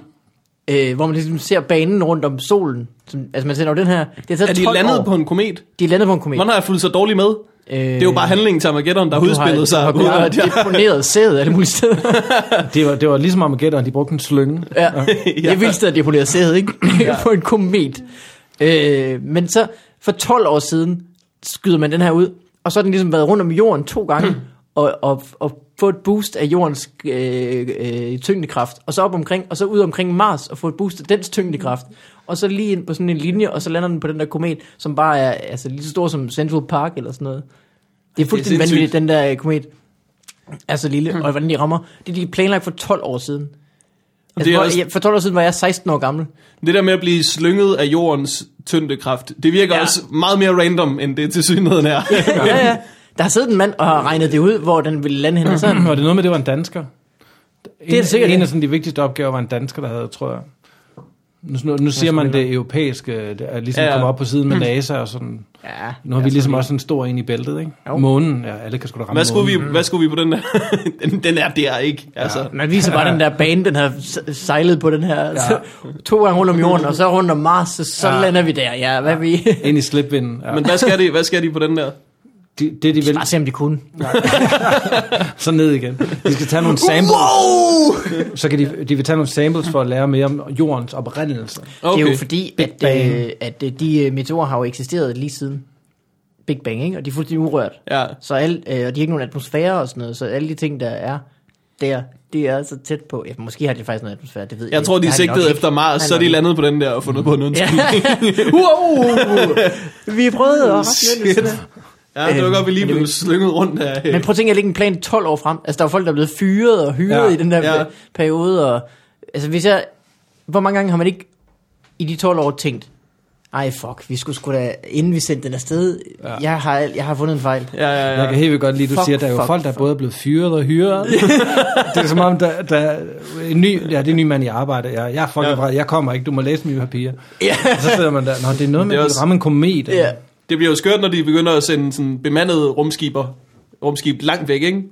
Øh, hvor man ligesom ser banen rundt om solen. Som, altså man ser, når den her... Det har taget Er de 12 landet år. på en komet? De er landet på en komet. Hvordan har jeg fulgt så dårligt med? øh, Det er jo bare handlingen til Armageddon, der har udspillet sig. Du ud af- har deponeret sædet alle mulige steder. Det var, det var ligesom Armageddon, de brugte en slynge. [laughs] ja. Det er vildt sted, at deponere sædet, ikke? [laughs] på en komet. Øh, men så for 12 år siden skyder man den her ud, og så har den ligesom været rundt om jorden to [clears throat] gange, og, og, og få et boost af jordens øh, øh, tyngdekraft, og så op omkring, og så ud omkring Mars, og få et boost af dens tyngdekraft, og så lige ind på sådan en linje, og så lander den på den der komet, som bare er altså, lige så stor som Central Park eller sådan noget. Det er Hmm. fuldstændig sindssygt. vanvittigt, den der øh, komet er så lille, og hvordan de rammer. Det er de planlagt for 12 år siden. Altså, Det er hvor, også- ja, for 12 år siden var jeg 16 år gammel. [laughs] Det der med at blive slynget af jordens tyngdekraft, det virker Ja. ja. også meget mere random, end det til synligheden [laughs] er. [clears throat] ja, ja. Der har siddet en mand og har regnet det ud, hvor den ville lande henne. og Så, Var det noget med, det var en dansker? en, sikkert en det. af sådan de vigtigste opgaver var en dansker, der havde, tror jeg. Nu, nu, nu siger man det europæiske, det er ligesom Ja, ja. ja. komme op på siden med NASA og sådan. Ja. Nu har vi Jeg ligesom tror, også en stor en i bæltet, ikke? Jo. Månen, ja, alle kan sgu da ramme Hvad skulle, månen. vi, hvad skulle vi på den der? [laughs] den, den er der, ikke? Altså, Man viser bare den der bane, den har se- sejlet på den her ja. [laughs] to gange rundt om jorden, og så rundt om Mars, så, så Ja. ja. lander vi der. Ja, hvad ja. vi... Ind i slipvinden. Ja. Men Men hvad skal, de, hvad skal de på [laughs] den der? det, det, de vil, Bare se, om de kunne. så ned igen. De skal tage nogle samples. Wow! Så kan de, de vil tage nogle samples for at lære mere om jordens oprindelse. Okay. Det er Okay. jo fordi, Big at, Bang. øh, at øh, de øh, meteorer har jo eksisteret lige siden Big Bang, ikke? og de er fuldstændig urørt. Ja. Så al, øh, og de har ikke nogen atmosfære og sådan noget, så alle de ting, der er der, det er så tæt på. Ja, måske har de faktisk noget atmosfære, det ved jeg Jeg tror, de Det er har nok sigtet ikke. efter Mars, Nej, så er nok de ikke. landet på den der og fundet på en [laughs] undskyldning. wow! Vi prøvede at rette lidt. Ja, det var godt, vi lige blev slynget rundt af... Øhm, Men prøv at tænke, at lægge en plan 12 år frem. Altså, der er folk, der er blevet fyret og hyret Ja, ja, i den der ja. ja. periode. Og, altså, hvis jeg... Hvor mange gange har man ikke i de 12 år tænkt, ej fuck, vi skulle sgu da, inden vi sendte den afsted, ja. jeg, har, jeg har fundet en fejl. Ja, ja, ja. Jeg kan helt vildt godt lide, du Fuck, fuck, siger, at der er jo fuck, folk, der både er blevet fyret og hyret. [laughs] det er som om, der, der en ny, ja, det er en ny mand i arbejde. Jeg, jeg er fucking Ja. ja. vred. Jeg kommer ikke. Du må læse mine papirer. Ja. Og så sidder man der. Nå, det er noget med, Det er at også- også... ramme en komet. eller- [laughs] Ja. Det bliver jo skørt, når de begynder at sende sådan bemandede rumskiber, rumskib langt væk, ikke?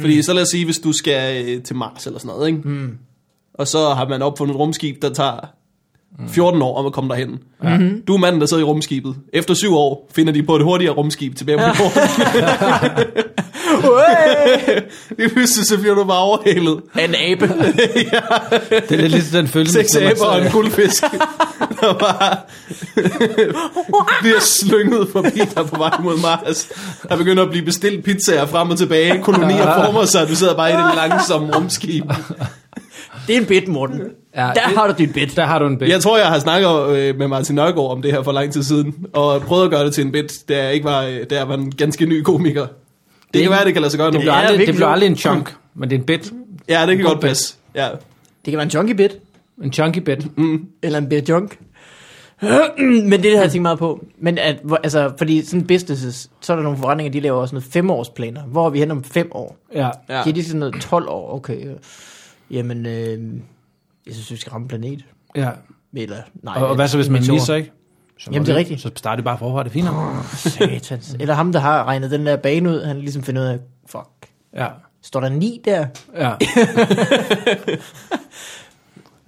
Fordi så lad os sige, hvis du skal øh, til Mars eller sådan noget, ikke? Mm. Og så har man opfundet et rumskib, der tager 14 år om at komme derhen. Mm-hmm. Du er manden, der sidder i rumskibet. Efter syv år finder de på et hurtigere rumskib tilbage på jorden. [laughs] Lige pludselig så bliver du bare overhalet. En abe. Det er lidt ligesom den følelse. Seks når man aber og en sidder- [laughs] guldfisk, der bare bliver slynget forbi der på vej mod Mars. Der begynder at blive bestilt pizzaer frem og tilbage. Kolonier former sig, du sidder bare i det langsomme rumskib. det er en bit, Morten. Ja, Ja, der det- har du dit bit. Der har du en bæk. Jeg tror, jeg har snakket øh, med Martin Nørgaard om det her for lang tid siden, og prøvet at gøre det til en bit, da jeg, ikke var, øh, da jeg var en ganske ny komiker. Det kan være, det kan lade sig gøre nu. Det bliver, Ja, aldrig, det virkelig. bliver aldrig en chunk, men det er en bit. Ja, det kan godt passe. Ja. Det kan være en junkie bit, En chunky bit. eller en bit junk. [clears throat] Men det, det har jeg tænkt meget på. Men at, hvor- altså, fordi sådan businesses, så er der nogle forretninger, de laver også sådan noget femårsplaner. Hvor er vi hen om fem år? Ja. Ja. Ja. Giver de sådan noget 12 år? Okay. øh, Jamen, øh, jeg synes, vi skal ramme planet. ja. Eller, nej, Og, og hvad så, hvis man meteor. misser, ikke? Så må Jamen, det er rigtigt. Så starter det bare forfra, det er fint. nok. [laughs] Satans. Eller ham, der har regnet den der bane ud, han ligesom finder ud af, fuck, Ja. står der 9 der? [laughs] Ja.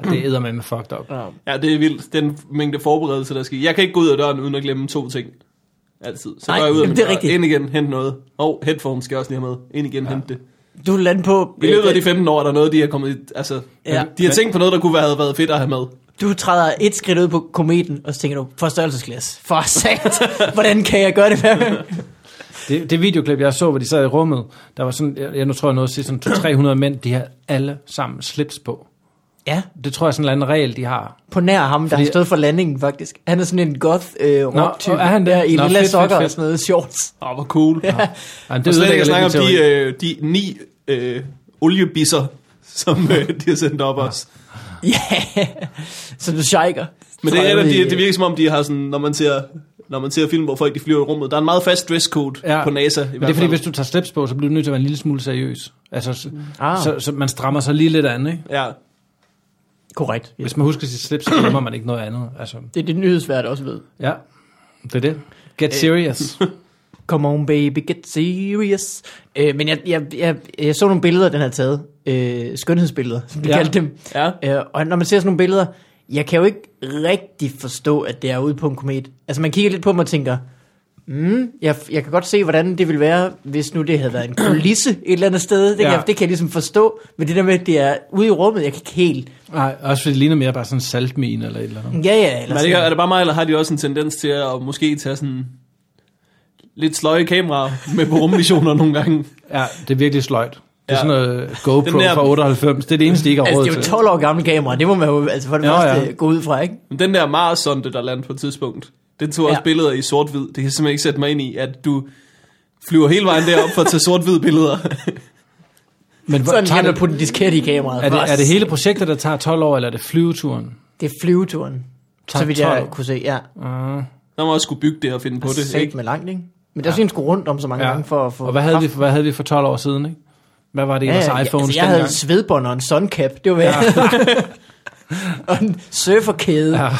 det æder man med fucked up. Ja. ja, det er vildt. Den mængde forberedelse, der skal. Jeg kan ikke gå ud af døren uden at glemme to ting. Altid. Så Nej, går jeg ud af jamen, min det er dør. rigtigt. Ind igen, hent noget. Og headphone skal jeg også lige have med. Ind igen, ja. hent det. Du vil lande på... øh, I løbet af de 15 år, er der noget, de har kommet i, altså, ja. Ja. de har tænkt på noget, der kunne have været fedt at have med. Du træder et skridt ud på kometen, og så tænker du, forstørrelsesglas. For [laughs] sat, hvordan kan jeg gøre det hver gang? Det, det videoklip, jeg så, hvor de sad i rummet, der var sådan, jeg, jeg nu tror jeg noget at sige, sådan 300 mænd, de havde alle sammen slips på. Ja, Det tror jeg er sådan en eller anden regel, de har. på nær ham, der Fordi- har stået for landingen, faktisk. Han er sådan en goth øh, rock-type. er han det? Der, I Nå, lille fedt, sokker fedt, fedt. og sådan noget shorts. [laughs] Åh, oh, hvor cool. Ja. Jamen, Det og slet ikke ødelægger at snakke om lidt min de, teori. øh, de ni øh, oliebisser, [laughs] som øh, de har sendt op os. Ja, som du shiker. Men Fra det, er, ude i- det, det virker som om, de har sådan, når man ser, når man ser film, hvor folk de flyver i rummet. Der er en meget fast dresscode ja. på NASA. I Men hvert det er fordi, fald. hvis du tager slips på, så bliver du nødt til at være en lille smule seriøs. Altså, så, Ah. ah. så, så man strammer sig lige lidt andet, ikke? Ja. Korrekt. Hvis man husker sit slips, så glemmer man ikke noget andet. Altså, Det er det nyhedsvært også ved. ja, det er det. Get serious. Come on baby, get serious. Øh, men jeg, jeg, jeg, jeg så nogle billeder, den har taget. Øh, skønhedsbilleder, som de Ja. ja. kaldte dem. Ja. Øh, og når man ser sådan nogle billeder, jeg kan jo ikke rigtig forstå, at det er ude på en komet. Altså man kigger lidt på dem og tænker, mm, jeg, jeg kan godt se, hvordan det ville være, hvis nu det havde [clears throat] været en kulisse et eller andet sted. Det, ja. kan, Ja. jeg, det kan jeg ligesom forstå. Men det der med, at det er ude i rummet, jeg kan ikke helt... Nej, også fordi det ligner mere bare sådan en saltmine eller et eller andet. Ja, ja, eller Men er, det, ikke- sådan. er det bare mig, eller har de også en tendens til at måske tage sådan lidt sløje kameraer med på rummissioner nogle gange? Ja, det er virkelig sløjt. Det er Ja. ja. sådan noget GoPro Den der- fra 98. Det er det eneste, de ikke har Altså, råd det er til. jo 12 år gamle kamera, det må man jo altså for det Ja, første ja. gå ud fra, ikke? Men den der Mars-sonde, der landede på et tidspunkt, den tog også Ja. billeder i sort-hvid. Det kan jeg simpelthen ikke sætte mig ind i, at du flyver hele vejen derop for at tage sort-hvid billeder. [laughs] Men hvor, Sådan tager kan man det, putte en diskette i kameraet. er, det, er det Også. hele projektet, der tager 12 år, eller er det flyveturen? Det er flyveturen. Tak, så vidt jeg 12. kunne se, ja. altså, Uh, Der må også skulle bygge det og finde på det. Sæt Ikke? med langt, ikke? Men der synes sgu rundt om så mange ja. gange for at få... og hvad havde, vi, hvad havde vi for 12 år siden, ikke? Hvad var det ellers ja, iPhones altså, altså, jeg havde dengang? en svedbånd og en suncap, det var ja. [laughs] og en surferkæde. Ja, Ja.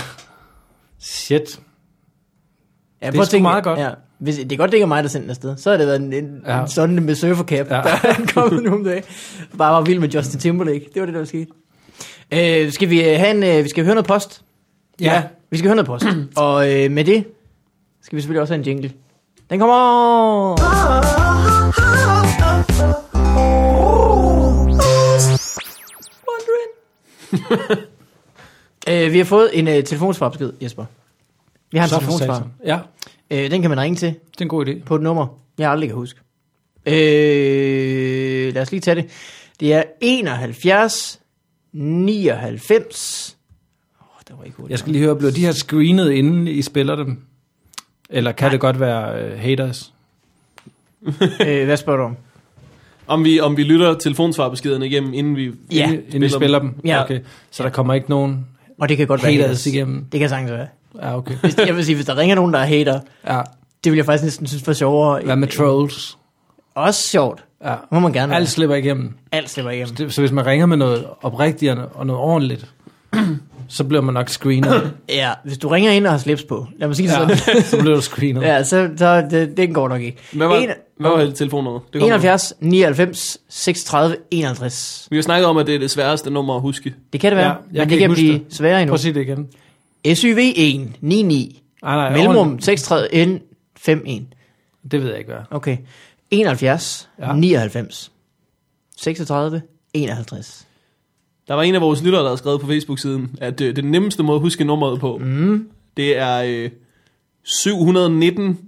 Shit. ja, det er sgu meget godt. Ja. Hvis, det er godt, det ikke er mig, der sendte den afsted. Så har det været en, en, ja. Ja. en sådan med surfercap, ja. Ja. der er kommet nu om dagen. Bare var vild med Justin Timberlake. Det var det, der var sket. Øh, skal vi øh, have en, øh, vi skal høre noget post? Ja. Vi skal høre noget [clears throat] post. og øh, med det skal vi selvfølgelig også have en jingle. Den kommer! Øh, vi har fået en øh, telefonsvarbesked, Jesper. Vi har en Så for telefonsvar. satan. Ja, Øh, den kan man ringe til det er en god idé. på et nummer, jeg aldrig kan huske. Øh, lad os lige tage det. Det er 71 99 oh, det var ikke Jeg skal lige høre, bliver de her screenet, inden I spiller dem? Eller kan Nej. det godt være uh, haters? øh, hvad spørger du om? Om vi, om vi lytter telefonsvarbeskederne igennem, inden vi... Ja, inden, inden I spiller spiller dem? Ja. Okay. Så der kommer ikke nogen Og det kan godt være haters igennem? Det kan sagtens være. Ja, okay. Hvis, jeg vil sige, hvis der ringer nogen, der er hater, Ja. det vil jeg faktisk næsten synes var sjovere. Hvad med trolls? Også sjovt. Ja. Må man gerne være. Alt slipper igennem. Alt slipper igennem. Det- Så hvis man ringer med noget oprigtigt og og noget ordentligt, så bliver man nok screenet. Ja, hvis du ringer ind og har slips på, lad mig sige det ja. sådan. Ja, [laughs] så bliver du screenet. Ja, så, så det, den går nok ikke. Hvad var, En- hvad var telefonnummeret? Det kommer. 71, 99, 36, 51. Vi har snakket om, at det er det sværeste nummer at huske. Det kan det Ja, være, jeg ja, kan men det ikke kan huske blive det. sværere endnu. Prøv at sige det igen. SYV 199, Ej, nej, mellemrum ordentligt. 36 N 51. Det ved jeg ikke, hvad. Okay. 71, ja. Ja. 99, 36, 51. Der var en af vores lyttere, der har skrevet på Facebook-siden, at øh, den nemmeste måde at huske nummeret på, mm. det er øh, 719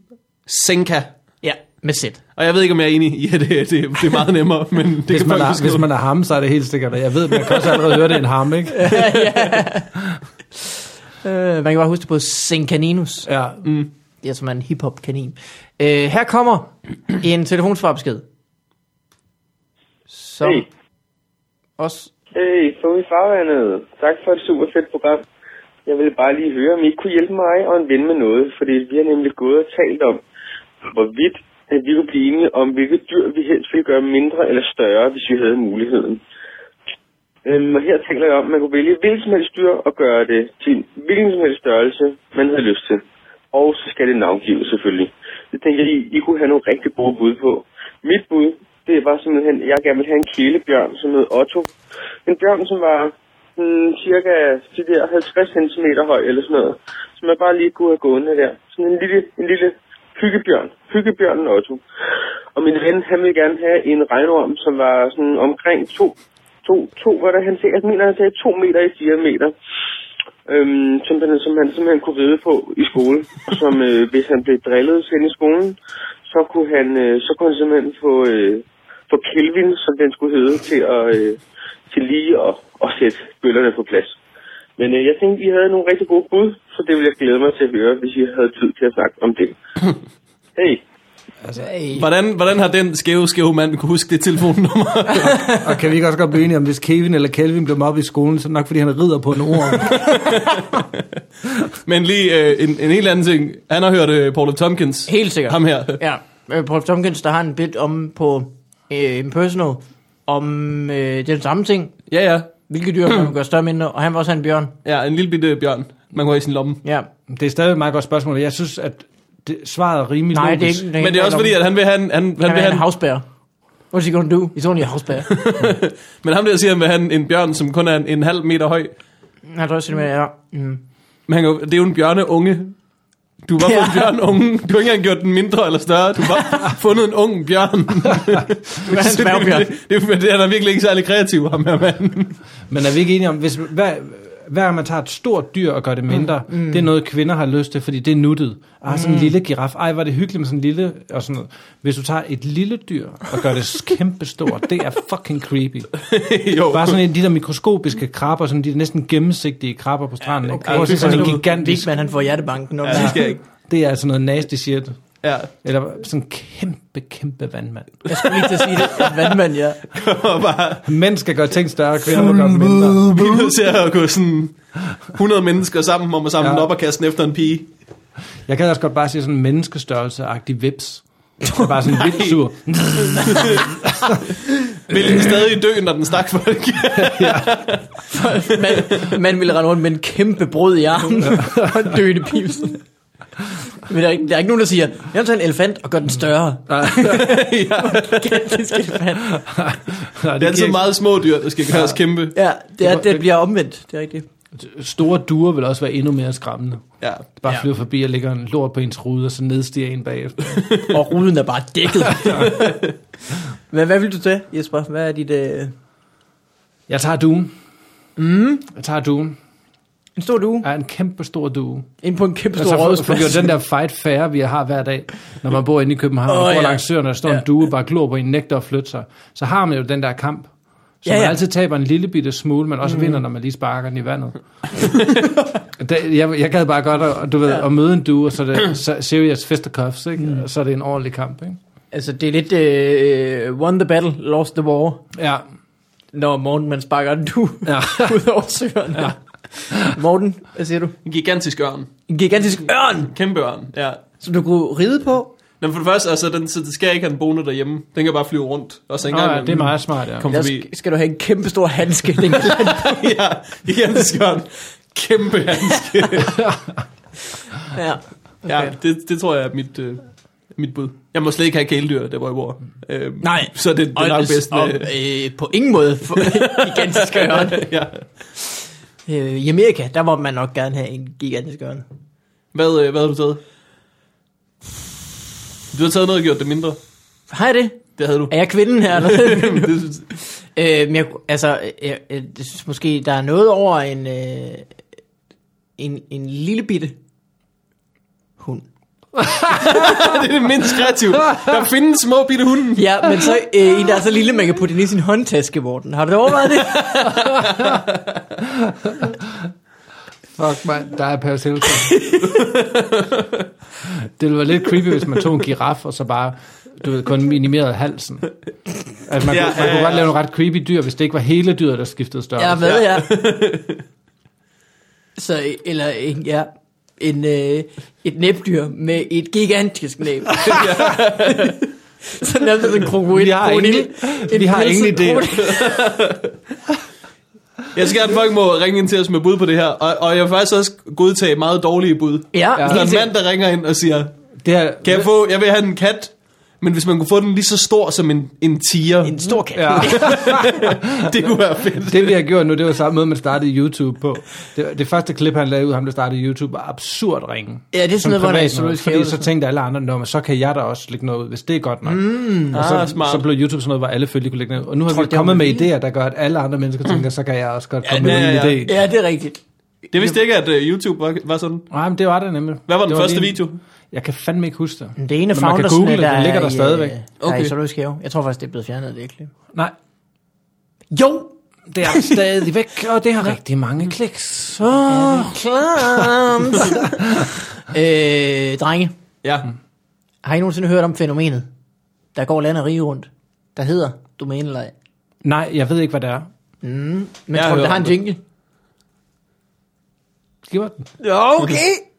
Senka. Ja, med sæt. Og jeg ved ikke, om jeg er enig i, at det, det, det er meget nemmere, men det Hvis kan man, folk er, huske. hvis man er ham, så er det helt sikkert. og Jeg ved, man kan også allerede høre, det er en ham, ikke? Uh, man kan bare huske det på Mm. Senkaninus. Ja. Det er som en hiphop-kanin. Uh, her kommer en telefonsvarbesked. Så Hey. også Hey, så er vi farvandet. Tak for et super fedt program. Jeg ville bare lige høre, om I ikke kunne hjælpe mig og en ven med noget, fordi vi har nemlig gået og talt om, hvorvidt at vi kunne blive enige om, hvilke dyr vi helst ville gøre mindre eller større, hvis vi havde muligheden. Øhm, og her taler jeg om, at man kunne vælge hvilken som helst dyr og gøre det til hvilken som helst størrelse, man havde lyst til. Og så skal det navngives selvfølgelig. Det tænker jeg, I, I kunne have nogle rigtig gode bud på. Mit bud, det var simpelthen, at jeg gerne ville have en kælebjørn, som hed Otto. En bjørn, som var hmm, cirka de der 50 cm høj eller sådan noget. Som jeg bare lige kunne have gående der. Sådan en lille, en lille hyggebjørn. Hyggebjørnen Otto. Og min ven, han ville gerne have en regnorm, som var sådan omkring to to, to var det, han sagde, jeg mener, han sagde to meter i diameter, øhm, som, han, som han simpelthen kunne ride på i skole, og som øh, hvis han blev drillet hen i skolen, så kunne han, øh, så kunne han simpelthen få, øh, få Kelvin, som den skulle hedde, til, at, øh, til lige at, at sætte bøllerne på plads. Men øh, jeg tænkte, I havde nogle rigtig gode bud, så det ville jeg glæde mig til at høre, hvis I havde tid til at snakke om det. Hey! Hvordan, hvordan har den skæve, skæve mand kunne huske det telefonnummer? [laughs] Og kan vi ikke også godt blive enige om, hvis Kevin eller Kelvin blev mobbet i skolen, så er det nok, fordi han rider på en ord. men lige øh, en, en helt anden ting. Han har hørt øh, Paul F. Tompkins. Helt sikkert. Ham her. Ja, øh, Paul Tompkins, der har en bit om på øh, Impersonal, om øh, den samme ting. Ja, ja. Hvilke dyr kan man gøre større mindre? Og han var også en bjørn. Ja, en lille bitte bjørn, man kunne have i sin lomme. Ja. Det er stadig et meget godt spørgsmål. Jeg synes, at det, svaret er rimelig Nej, logisk. det er ikke... Men det er også fordi, at han vil have en, han, han han, vil han er en have en, havsbær. What's he gonna do? He's only a havsbær. men ham der siger, at han vil have en, en bjørn, som kun er en, en halv meter høj. [laughs] Han tror også, det er... Mm. Men han, kan jo- det er jo en bjørneunge. Du har bare fået en bjørneunge. Du har ikke engang gjort den mindre eller større. Du [laughs] har bare fundet en ung bjørn. Du er en Så det, dværgbjørn. det, det, det, han er virkelig ikke særlig kreativ, ham her [laughs] mand. Men er vi ikke enige om, hvis, hver, hver gang man tager et stort dyr og gør det mindre, mm, mm. det er noget, kvinder har lyst til, fordi det er nuttet. Ah, sådan en lille giraf. Ej, var det hyggeligt med sådan en lille... Og sådan noget. Hvis du tager et lille dyr og gør det kæmpestort, det er fucking creepy. jo. Bare sådan en, de der mikroskopiske krabber, sådan de der næsten gennemsigtige krabber på stranden. Ja, okay. Ej, Prøv at se sådan en gigantisk... Vigman, han får hjertebanken. Når Ja, det skal jeg ikke. Det er altså noget nasty shit. Ja. Eller sådan en kæmpe, kæmpe vandmand. jeg skulle lige til at sige det. Vandmand, ja. Og bare, Mænd skal gøre ting større, kvinder må gøre dem mindre. vi er nødt til at gå sådan 100 mennesker sammen om at samle Ja. ja. den op og kaste den efter en pige. Jeg kan også godt bare sige sådan en menneskestørrelse-agtig vips. Det er bare sådan en vild sur. Vil den stadig dø, når den stak folk? Man, man ville rende rundt med en kæmpe brød i armen [laughs] og en døende pibs. Men der er, ikke, der er ikke nogen, der siger, jeg vil tage en elefant og gøre den [laughs] større. ja. Gigantisk elefant. Nej, Det det er giver altid ikke- meget små dyr, der skal gøres kæmpe. Ja, det, er, det bliver omvendt, det er rigtigt. Store duer vil også være endnu mere skræmmende. Ja. Bare Ja. ja. flyver forbi og lægger en lort på ens rude, og så nedstiger en bagefter. Og ruden er bare [laughs] dækket. Men hvad vil du tage, Jesper? Hvad er dit... Øh... Jeg tager duen. Mm. Jeg tager duen. En stor due? Jeg er en kæmpe stor due. Ind på en kæmpe stor Altså, for, for rådhusplads. gjort den der fight fair, vi har hver dag, når man bor inde i København, Åh, oh, og ja. går langs søerne, og står Ja. en due, bare glor på en, nægter at flytte sig, så har man jo den der kamp, som Ja, ja, ja. ja. man altid taber en lille bitte smule, men også mm. vinder, når man lige sparker den i vandet. [laughs] det, jeg, jeg gad bare godt at, du ved, ja. at møde en due, og så er det så serious fist og cuffs, ikke? Mm. så er det en ordentlig kamp. Ikke? Altså, det er lidt øh, won the battle, lost the war, Ja. når Morten man sparker en du ja. [laughs] ud over søerne. Ja. Morten, hvad siger du? En gigantisk ørn. En gigantisk ørn, Kæmpe ørn, ja. som du kunne ride på. Men for det første, altså, den, så den skal ikke have en boende derhjemme. Den kan bare flyve rundt. Og så Nå, engang, ja, det er meget smart, ja. Kom Der forbi. sk- skal du have en kæmpe stor handske. Den kan [laughs] ja, gigantisk ørn. Kæmpe handske. ja. Ja, det, det tror jeg er mit, øh, mit bud. Jeg må slet ikke have kæledyr, der hvor jeg bor. Øhm, Nej. Så det, det er nok bedst og, med... øh, på ingen måde [laughs] for, gigantisk ørn. [laughs] ja. Øh, I Amerika, der må man nok gerne have en gigantisk ørn. hvad, øh, hvad har du taget? Du har taget noget og gjort det mindre. Har jeg det? Det havde du. Er jeg kvinden [laughs] her? Eller? [laughs] det synes, [laughs] øh, men jeg, kunne- altså, jeg, jeg, jeg synes måske, der er noget over en, øh, en, en lille bitte hund. det er det mindst kreative. Der findes små bitte hunde. Ja, men så øh, en, der er så lille, man kan putte den i sin håndtaske, Morten. Har du da overvejet [laughs] det? Fuck, man. Der er Paris Hilton. [laughs] det ville være lidt creepy, hvis man tog en giraf, og så bare, du ved, kun minimerede halsen. Altså, man, ja, Ja, kunne, man ja, kunne ja. godt lave nogle ret creepy dyr, hvis det ikke var hele dyret, der skiftede størrelse. Ja, Ja, hvad [laughs] ja. Så, eller en, ja, en, øh, et næbdyr med et gigantisk [laughs] næb. så nærmest en krokodil. Vi har krokodil, ingen- en vi har pelset ingen idéer. krokodil. Jeg skal gerne, folk må ringe ind til os med bud på det her. Og, og jeg vil faktisk også godtage meget dårlige bud. Ja, Hvis der er helt en mand, der ringer ind og siger, det her, kan jeg, få, jeg vil have en kat, men hvis man kunne få den lige så stor som en, en tiger, En stor kat. Ja. [laughs] det kunne være fedt. det vi har gjort nu, det var samme måde, man startede YouTube på. Det, det første klip, han lavede ud, ham der startede YouTube, var absurd ringe. Ja, det er sådan Som noget, hvor der er privat zoologisk noget, have. Fordi så tænkte alle andre, "Nå, men så kan jeg da også lægge noget ud, hvis det er godt nok. Mm, og så, ah, smart. så blev YouTube sådan noget, hvor alle følge kunne lægge noget ud. Og nu har Tror vi du, det kommet var med vilje? idéer, der gør, at alle andre mennesker tænker, så kan jeg også godt komme Mm. ja, med en ja, ja. idé. Ja, det er rigtigt. Det vidste ikke, at uh, YouTube var, var sådan. Nej, men det var det nemlig. Hvad var den det første lige- video? Mm. Jeg kan fandme ikke huske det. Men Det ene Men man kan foundersne, google det, der det ligger er der i, stadigvæk. øh, Der er Okay. i zoologisk have. Jeg tror faktisk, det er blevet fjernet, det klip. Nej, Jo! det er stadigvæk, og det har rigtig Mm. mange kliks. Åh. Klamt! [laughs] øh, drenge, Ja. har I nogensinde hørt om fænomenet, der går land og rige rundt, der hedder domænelej? Nej, jeg ved ikke, hvad det er. Men Jeg jeg har tror du, hørt det har om en det. jingle? Giv mig den. Okay! [laughs]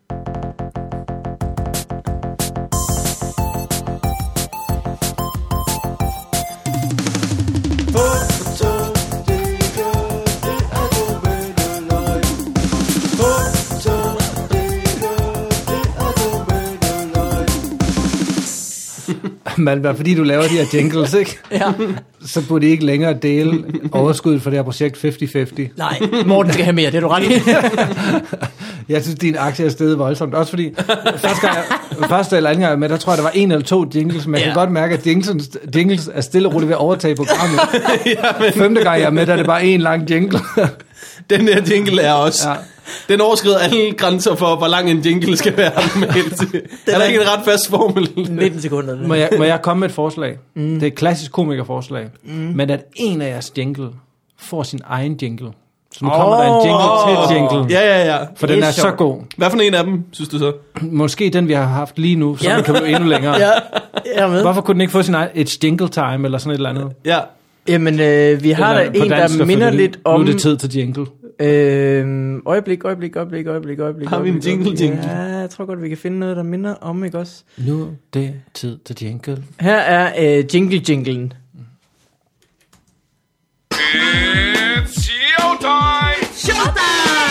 Men hvad, fordi du laver de her jingles, ikke? Ja. så burde I ikke længere dele overskuddet for det her projekt 50-50. Nej, Morten skal have mere, det er du [laughs] ret i. [laughs] Jeg synes, din aktie er steget voldsomt. Også [laughs] fordi første, gang jeg, første eller anden gang jeg var med, der tror jeg, der var en eller to jingles, men jeg Ja. kan godt mærke, at jingles, jingles er stille og roligt ved at overtage [laughs] programmet. Femte gang jeg er med, der er det bare en lang jingle. Den her jingle er også. Ja. Ja. Den overskrider alle grænser for, hvor lang en jingle skal [laughs] være. normalt. er der ikke en ret fast formel? 19 sekunder. Må jeg, må jeg komme med et forslag? Mm. Det er et klassisk komikerforslag. Mm. Men at en af jeres jingle får sin egen jingle. Så nu kommer der en jingle til jinglen. Ja, ja, ja. For det den er er så sjovt. god. Hvad for en af dem, synes du så? Måske den, vi har haft lige nu, så Ja. ja. den kan blive endnu længere. [laughs] Ja, jeg er med. Hvorfor kunne den ikke få sin egen, et jingle time eller sådan et eller andet? Ja. Jamen, øh, vi har Eller da på en, dansk der minder selvfølgelig. lidt om... Nu er det tid til jingle. Øhm, øjeblik, øjeblik, øjeblik, øjeblik, øjeblik. Har vi en øjeblik, jingle, øjeblik. jingle? Ja, jeg tror godt, vi kan finde noget, der minder om, ikke også? Nu er det tid til jingle. Her er øh, jingle jinglen. It's showtime!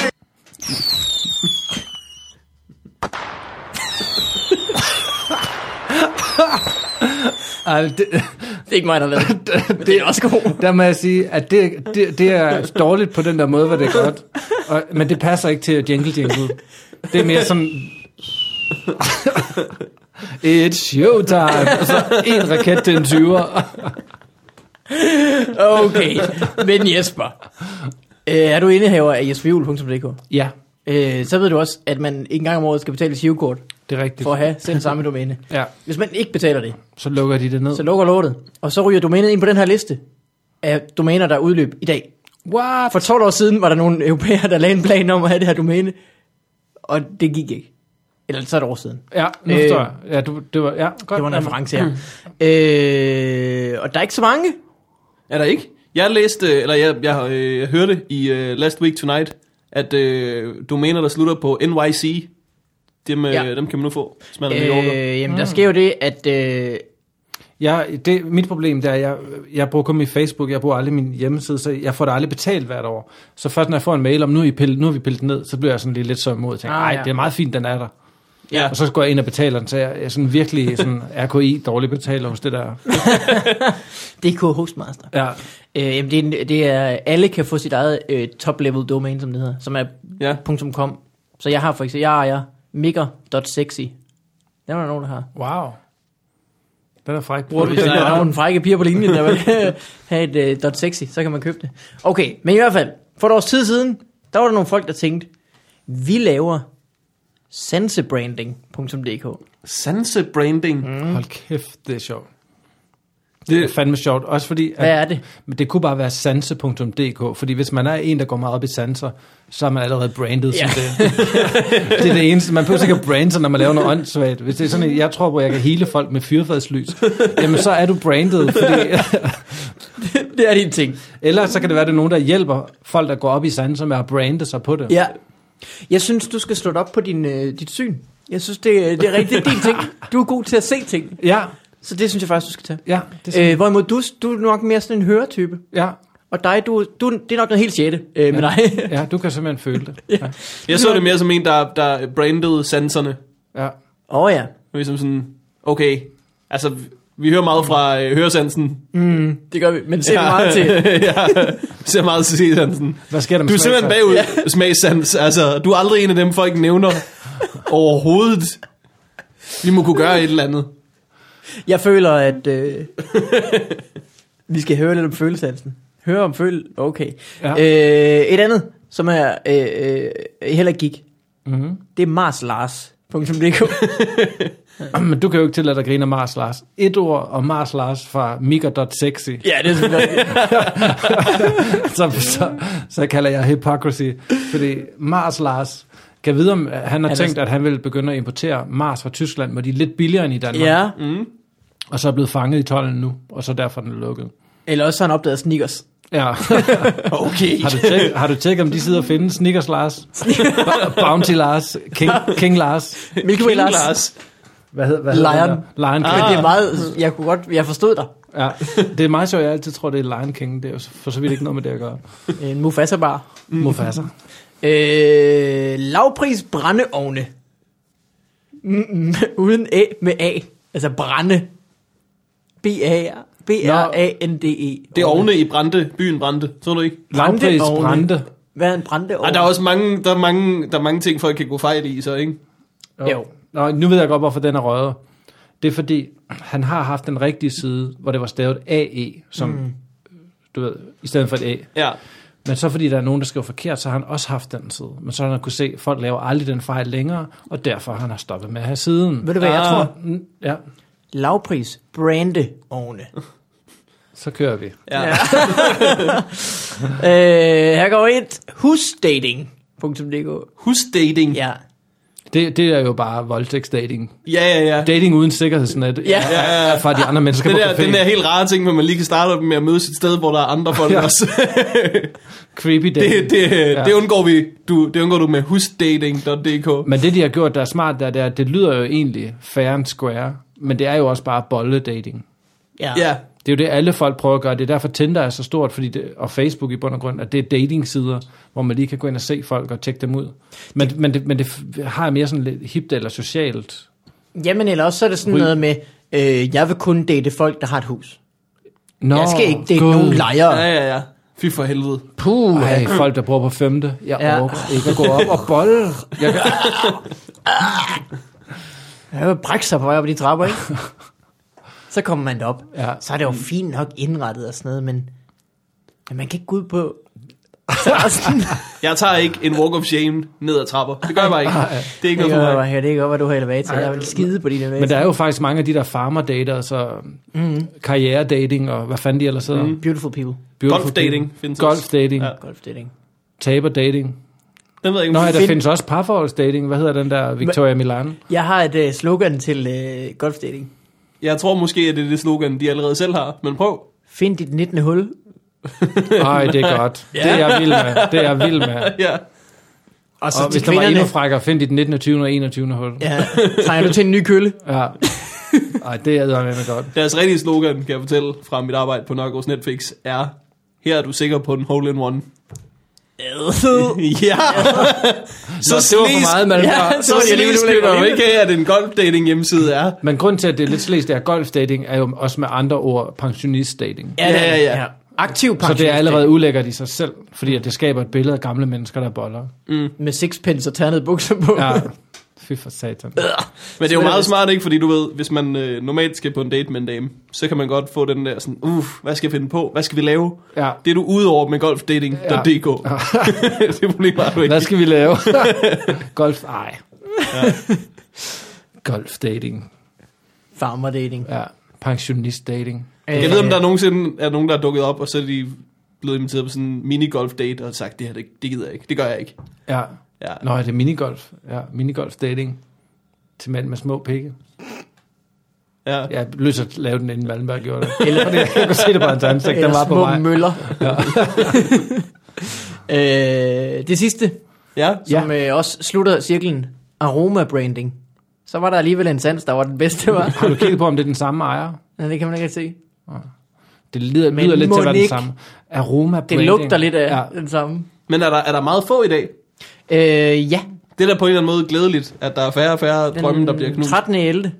Altså, det, Det er ikke mig, der lavede det. [laughs] Men det er også god. der må jeg sige, at det, det, det er dårligt på den der måde, hvor det er godt. Og, men det passer ikke til Jingle Jingle. Det er mere som... It's showtime! Og så en raket til en 20'er. Okay, men Jesper. Øh, er du indehaver af jesperhjul.dk, Ja, øh, så ved du også, at man en gang om året skal betale et kort det er rigtigt. for at have selv samme domæne. Ja, Hvis man ikke betaler det, så lukker de det ned. så lukker lortet, og så ryger domænet ind på den her liste af domæner, der er udløb i dag. What? For 12 år siden var der nogle europæere, der lagde en plan om at have det her domæne, og det gik ikke. Eller så et år siden. Ja, nu Øh, forstår jeg. Ja, du, det var, ja, godt. Det var en reference her. Øh, og der er ikke så mange. Er der ikke? Jeg læste, eller jeg, jeg, har, øh, jeg hørte i øh, Last Week Tonight, at øh, domæner, der slutter på NYC, dem, øh, Ja. ja. dem kan man nu få, hvis man er øh, Øh, jamen, der sker jo det, at... Øh, Jeg, det, mit problem det er, at jeg, jeg bruger kun min Facebook, jeg bruger aldrig min hjemmeside, så jeg får det aldrig betalt hvert år. Så først når jeg får en mail om, nu er, I pillet, nu er vi pillet den ned, så bliver jeg sådan lige lidt så imod. Tænker, Ah, nej, ah, ja. ja. det er meget fint, den er der. Ja. Og så går jeg ind og betaler den, så jeg, jeg er sådan virkelig sådan RKI dårlig betaler hos det der. DK Hostmaster. Ja, Øh, jamen, det, er, en- det er, alle kan få sit eget øh, top-level domain, som det hedder, som er Ja. .com. Så jeg har for eksempel, jeg ejer migger.sexy. Den er der nogen, der har. wow. Den er fræk. Bruger du Hvis der der er er- nogle frække piger på linjen, der vil [laughs] have et øh, dot .sexy, så kan man købe det. Okay, men i hvert fald, for et års tid siden, der var der nogle folk, der tænkte, vi laver sansebranding.dk. Sanse Branding. Mm. Hold kæft, det er sjovt. Det er fandme sjovt, også fordi... Hvad er det? Men det kunne bare være sanse.dk, fordi hvis man er en, der går meget op i sanser, så er man allerede branded ja. som det. [laughs] det er det eneste. Man behøver ikke at brande sig, når man laver noget åndssvagt. Hvis det er sådan, en, jeg tror, hvor jeg kan hele folk med fyrfadslys, jamen så er du branded. Fordi, [laughs] det er din ting. eller så kan det være, at det er nogen, der hjælper folk, der går op i sanser med at brande sig på det. Ja. Jeg synes, du skal slå det op på din, øh, dit syn. Jeg synes, det, det er rigtigt din ting. Du er god til at se ting. ja, Så det synes jeg faktisk, du skal tage. ja, det, er- Øh, hvorimod du, du er nok mere sådan en høretype. ja, Og dig, du, du, det er nok noget helt sjette øh, med dig. ja, du kan simpelthen føle det. Ja, Jeg så det mere som en, der, der brandede sanserne. ja. [laughs] Åh oh, ja, Ligesom sådan, okay, altså vi- vi hører meget fra øh, høresansen. det gør vi. Men se ja. meget til. [laughs] ja, vi ser meget til sesansen. Hvad sker der med Du er simpelthen smagssans? bagud ja. smagssans. Altså, du er aldrig en af dem, folk nævner overhovedet. Vi må kunne gøre et eller andet. Jeg føler, at øh, [laughs] vi skal høre lidt om følelsesansen. Høre om føl... Okay. Ja. Ja. Øh, et andet, som er øh, øh, heller ikke gik, Mhm. [clears throat] det er marslars.dk. Men du kan jo ikke tillade dig at grine af Mars Lars. Et ord om Mars Lars fra Mika.sexy. [laughs] ja, det er selvfølgelig så, så, så kalder jeg hypocrisy, fordi Mars Lars, kan vide om, øh, han har er- tænkt, at han vil begynde at importere Mars fra Tyskland, hvor de er lidt billigere end i Danmark, [laughs] Ja, og så er blevet fanget i tollen nu, og så derfor er den lukket. eller også har han opdaget sneakers. Ja. [laughs] Okay. Har du, tjekket, har du tjekket, om de sidder og finde Snickers [laughs] Lars, Ba- Bounty Lars, King, King Lars, Milky Way Lars. Ah. hvad hedder, hvad Lion. Hedder den der? Lion Men det King. er meget... Jeg kunne godt... Jeg forstod dig. Ja. Det er meget sjovt, jeg altid tror, det er Lion King, det er jo for så vidt ikke noget med det at gøre. En Mufasa-bar. Mufasa. Øh, lavpris brændeovne. Mm-mm, [laughs] uden A med A. Altså brænde. B-A- B-R-A-N-D-E. Det er ovne i Brande, byen Brande, tror du ikke? Lavpris Brændeovne. brændte. Hvad er en brændeovne? Ej, der er også mange, der er mange, der er mange ting, folk kan gå fejl i, så ikke? Jo. Nå, nu ved jeg godt, hvorfor den er røget. Det er fordi, han har haft den rigtige side, hvor det var stavet AE, som, mm. du ved, i stedet for et A. Ja. Men så fordi der er nogen, der skriver forkert, så har han også haft den side. Men så har han kunne se, at folk laver aldrig den fejl længere, og derfor har han stoppet med at have siden. Ved du, hvad jeg Ah, tror? mm, Ja, Lavpris [laughs] brandeovne. så kører vi. Ja. Ja. øh, her går et husdating.dk Husdating. Ja. Det, det er jo bare voldtægtsdating. Ja, ja, ja. Dating uden sikkerhedsnet. Ja. ja. Fra de andre mennesker Den på der, café. den der helt rare ting, hvor man lige kan starte op med at mødes et sted, hvor der er andre folk ja. Ja. [laughs] også. Creepy dating. det, det, ja. det, undgår vi, du, det undgår du med husdating.dk. Men det, de har gjort, der er smart, der, det er, at det lyder jo egentlig fair and square, men det er jo også bare bolle dating. Ja. Ja, Det er jo det, alle folk prøver at gøre. Det er derfor Tinder er så stort, fordi det, og Facebook i bund og grund, at det er datingsider, hvor man lige kan gå ind og se folk og tjekke dem ud. Men det, men det, men det f- har mere sådan lidt hipt eller socialt. Jamen, eller også så er det sådan Ry- noget med, øh, jeg vil kun date folk, der har et hus. Nå, Jeg skal ikke date gud. nogen lejere. Ja, ja, ja. Fy for helvede. Puh, Ej, folk, der bor på femte. Jeg Ja. ja. orker ikke at gå op og bolle. Jeg, jeg vil brække sig på vej op ad de trapper, [laughs] ikke? så kommer man derop. Ja. Så er det jo fint nok indrettet og sådan noget, men, men man kan ikke gå ud [laughs] på... Så er der sådan, Jeg tager ikke en walk of shame ned ad trapper. Det gør jeg bare ikke. Det er ikke det noget gør for mig. jeg jeg det gør, hvad du har elevator. Jeg vil skide på dine men der elevator. er jo faktisk mange af de der farmer-dater, så mm. karrieredating og hvad fanden de ellers hedder. Mm. Beautiful people. Golf-dating findes også. Golf-dating. Ja. Ja. Golf dating. Taber-dating. Den ved jeg ikke. Nå, ja, der om- Find- findes også parforholdsdating. Hvad hedder den der Victoria Milan? Jeg har et uh, slogan til uh, golf dating. Jeg tror måske, at det er det slogan, de allerede selv har. Men prøv. Find dit 19. hul. Ej, det er godt. Det er jeg vild med. Det er jeg vild med. Ja. Og, så og til hvis der var kvinderne- endnu frækker, find dit 19. 20. og 21. hul. Ja, trænger du til en ny [laughs] kølle? Ja. Ej, det er jeg med godt. Deres rigtige slogan, kan jeg fortælle fra mit arbejde på Nørgaards Netflix, er her er du sikker på en hole-in-one. ja! så Nå, det var for meget, man Ja, ja, det var Så det alligevel slisk køber du alligevel. ikke af, at en golfdating hjemmeside er. Men grund til, at det er lidt slæst, det er golfdating, er jo også med andre ord pensionistdating. Ja, ja, ja. Aktiv Så det er pensionist. allerede ulækkert i sig selv, fordi at det skaber et billede af gamle mennesker, der boller. Med sixpence og ternede bukser på. Ja. Fy for satan. Men det er jo Spiller meget vist. smart, ikke? Fordi du ved, hvis man øh, normalt skal på en date med en dame, så kan man godt få den der sådan, uff, hvad skal jeg finde på? Hvad skal vi lave? Ja. Det er du ude over med golfdating.dk. Ja. [laughs] det problemer har du ikke. Hvad skal vi [laughs] lave? Golf? Ej. Golfdating. Farmer dating. Ja. Pensionistdating. Jeg ved, om der nogensinde er nogen, der er dukket op, og så er de blevet inviteret på sådan en minigolf-date, og sagt, det her, det, det gider jeg ikke. Det gør jeg ikke. Ja. Ja. Nå, er det minigolf? Ja, minigolfdating. Til mænd med små pikke. Ja. Jeg er lyst til at lave den, inden Wallenberg gjorde det. Eller fordi jeg kunne se det på hans ansigt, der Eller var på små mig. møller. [laughs] øh, det sidste, ja. som ja. øh, også slutter cirklen, aroma branding. Så var der alligevel en sans, der var den bedste, [laughs] var. Har du kigget på, om det er den samme ejer? Nej, det kan man ikke rigtig se. Det lyder, Men lyder lidt til at være den Monique, samme. Aroma Det branding. lugter lidt af Ja. ja. den samme. Men er der, er der meget få i dag? Øh, ja, Det er da på en eller anden måde glædeligt, at der er færre og færre den drømme, der bliver knust. 13. 11.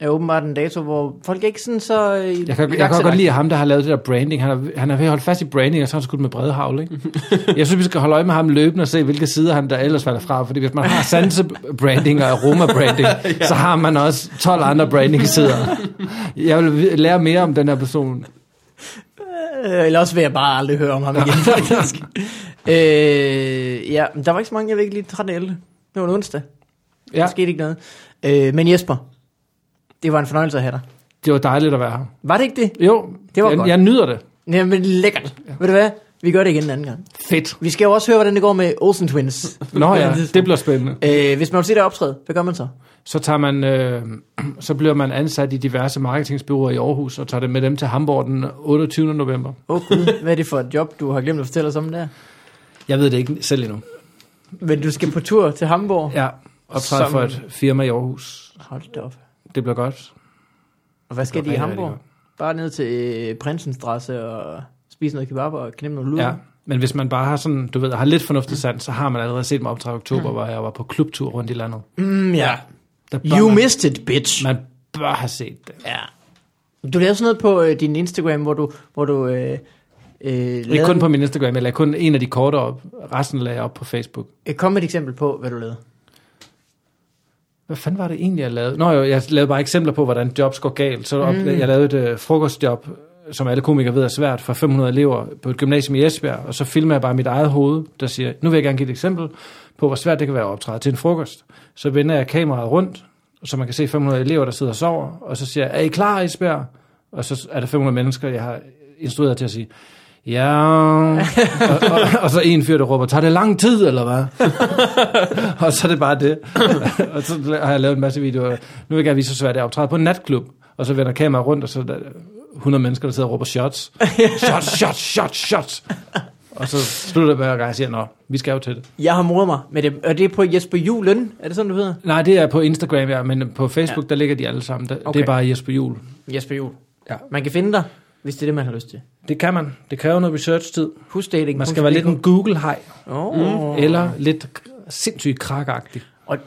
er åbenbart en dato, hvor folk ikke sådan så... Øh, Jeg kan, jeg kan godt lide ham, der har lavet det der branding. Han er, han er ved at holde fast i branding, og så har han skudt med brede havl, [laughs] ikke? Jeg synes, vi skal holde øje med ham løbende og se, hvilke sider han der ellers falder fra. Fordi hvis man har sanse-branding og [laughs] aroma-branding, ja. så har man også 12 andre branding-sider. Jeg vil vi- lære mere om den her person. Øh, eller også vil jeg bare aldrig høre om [laughs] ham igen, faktisk. øh, ja, men der var ikke så mange, jeg ved ikke lige 13. 11. Det var en onsdag. Ja. Ja, Der skete ikke noget. Øh, men Jesper, det var en fornøjelse at have dig. det var dejligt at være her. Var det ikke det? Jo, Det var jeg, godt. jeg nyder det. Jamen, lækkert. Ja. Ved du hvad? Vi gør det igen en anden gang. Fedt. Vi skal jo også høre, hvordan det går med Olsen Twins. [laughs] Nå ja, det bliver spændende. Øh, hvis man vil se dig optræde, hvad gør man så? så, tager man, øh, så bliver man ansat i diverse marketingsbyråer i Aarhus, og tager det med dem til Hamburg den 28. november. Åh oh, gud, hvad er det for et job, du har glemt at fortælle os om der? Jeg ved det ikke selv endnu. Men du skal på tur til Hamburg. Ja, optræde Som- for et firma i Aarhus. Hold da op. Det bliver godt. Og hvad skal Det de i går rigtig, rigtig Hamburg? Bare ned til øh, Prinsenstrasse og spise noget kebab og knemme noget lud. Ja. Men hvis man bare har sådan, du ved, har lidt fornuftig sand, så har man allerede set mig optræde i oktober, hvor jeg var på klubtur rundt i landet. Mm, ja. Der bør You man, missed it, bitch. man bør have set det. Ja. Du lavede sådan noget på øh, din Instagram, hvor du, hvor du øh, øh, Ikke lavede, kun på min Instagram, jeg lagde kun en af de korte op. Resten lagde jeg op på Facebook. Øh, kom med et eksempel på, hvad du lavede. Hvad fanden var det egentlig, jeg lavede? Nå jo, jeg lavede bare eksempler på, hvordan jobs går galt. Så op, mm. jeg lavede et øh, frokostjob, som alle komikere ved er svært, for 500 elever på et gymnasium i Esbjerg, og så filmer jeg bare mit eget hoved, der siger, nu vil jeg gerne give et eksempel på, hvor svært det kan være at optræde til en frokost. Så vender jeg kameraet rundt, så man kan se 500 elever, der sidder og sover, og så siger jeg, er I klar, Esbjerg? Og så er der 500 mennesker, jeg har instrueret til at sige, ja, og, og, og så en fyr, der råber, tager det lang tid, eller hvad? [laughs] og så er det bare [laughs] det. og så har jeg lavet en masse videoer. Nu vil jeg gerne vise, hvor svært det er at optræde på en natklub. Og så vender kameraet rundt, og så er der 100 mennesker, der sidder og råber [laughs] shots. Shots, shots, shots, shots. Og så slutter det hver gang, jeg siger, nå, vi skal jo til det. Jeg har moret mig med det. Og det er på Jesper Julen, er det sådan, du hedder? Nej, det er på Instagram, ja, men på Facebook, ja. der ligger de alle sammen. Der, okay. Okay. Det er bare Jesper Jul. Jesper Jul. Ja. Man kan finde dig, hvis det er det, man har lyst til. Det kan man. Det kræver noget research-tid. Husdating. Man skal være lidt en Google-hej, Oh. Mm. eller lidt sindssygt krakagtig. Og... [laughs]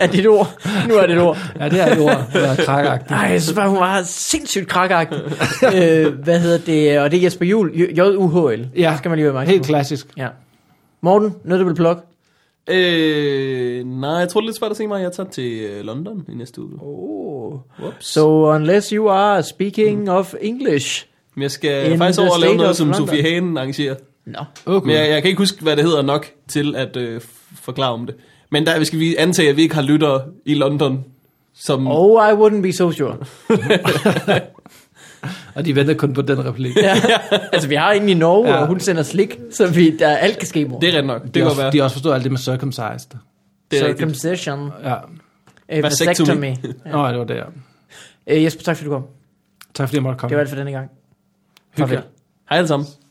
er det et ord? Nu er det et ord. Ja, det er et ord, at være krakagtig. Nej, jeg synes bare, hun var sindssygt [laughs] krakagtig. øh, hvad hedder det? Og det er Jesper Juhl, J-U-H-L. Ja. Det skal man lige være Helt klassisk. Ja. Morten, noget du vil plukke? Øh, nej, jeg tror, det er lidt svært at se mig. Jeg tager til øh, London i næste uge. Oh. Whoops. So unless you are speaking mm. of English. Men jeg skal In In faktisk the over og lave state noget, of som London. Sofie Hagen arrangerer. Nå. Okay. Men jeg, jeg kan ikke huske, hvad det hedder nok til at øh, f- forklare om det. Men der vi skal vi antage, at vi ikke har lyttere i London, som... Oh, I wouldn't be so sure. Og de venter kun på den replik. ja. [laughs] Altså, vi har en i Norge, ja. Ja. og hun sender slik, så vi, der alt kan ske, mor. Det er rent nok. Det De, kan har godt også, være. de har også forstået alt det med circumcised. Det er rigtigt. Circumcision. Ja. Øh, Vasectomy. vasectomy. Nå, det var det. ja. Øh, Jesper, tak fordi du kom. Tak fordi jeg måtte komme. Det var alt for denne gang. Hyggeligt. Farvel. Hej alle sammen.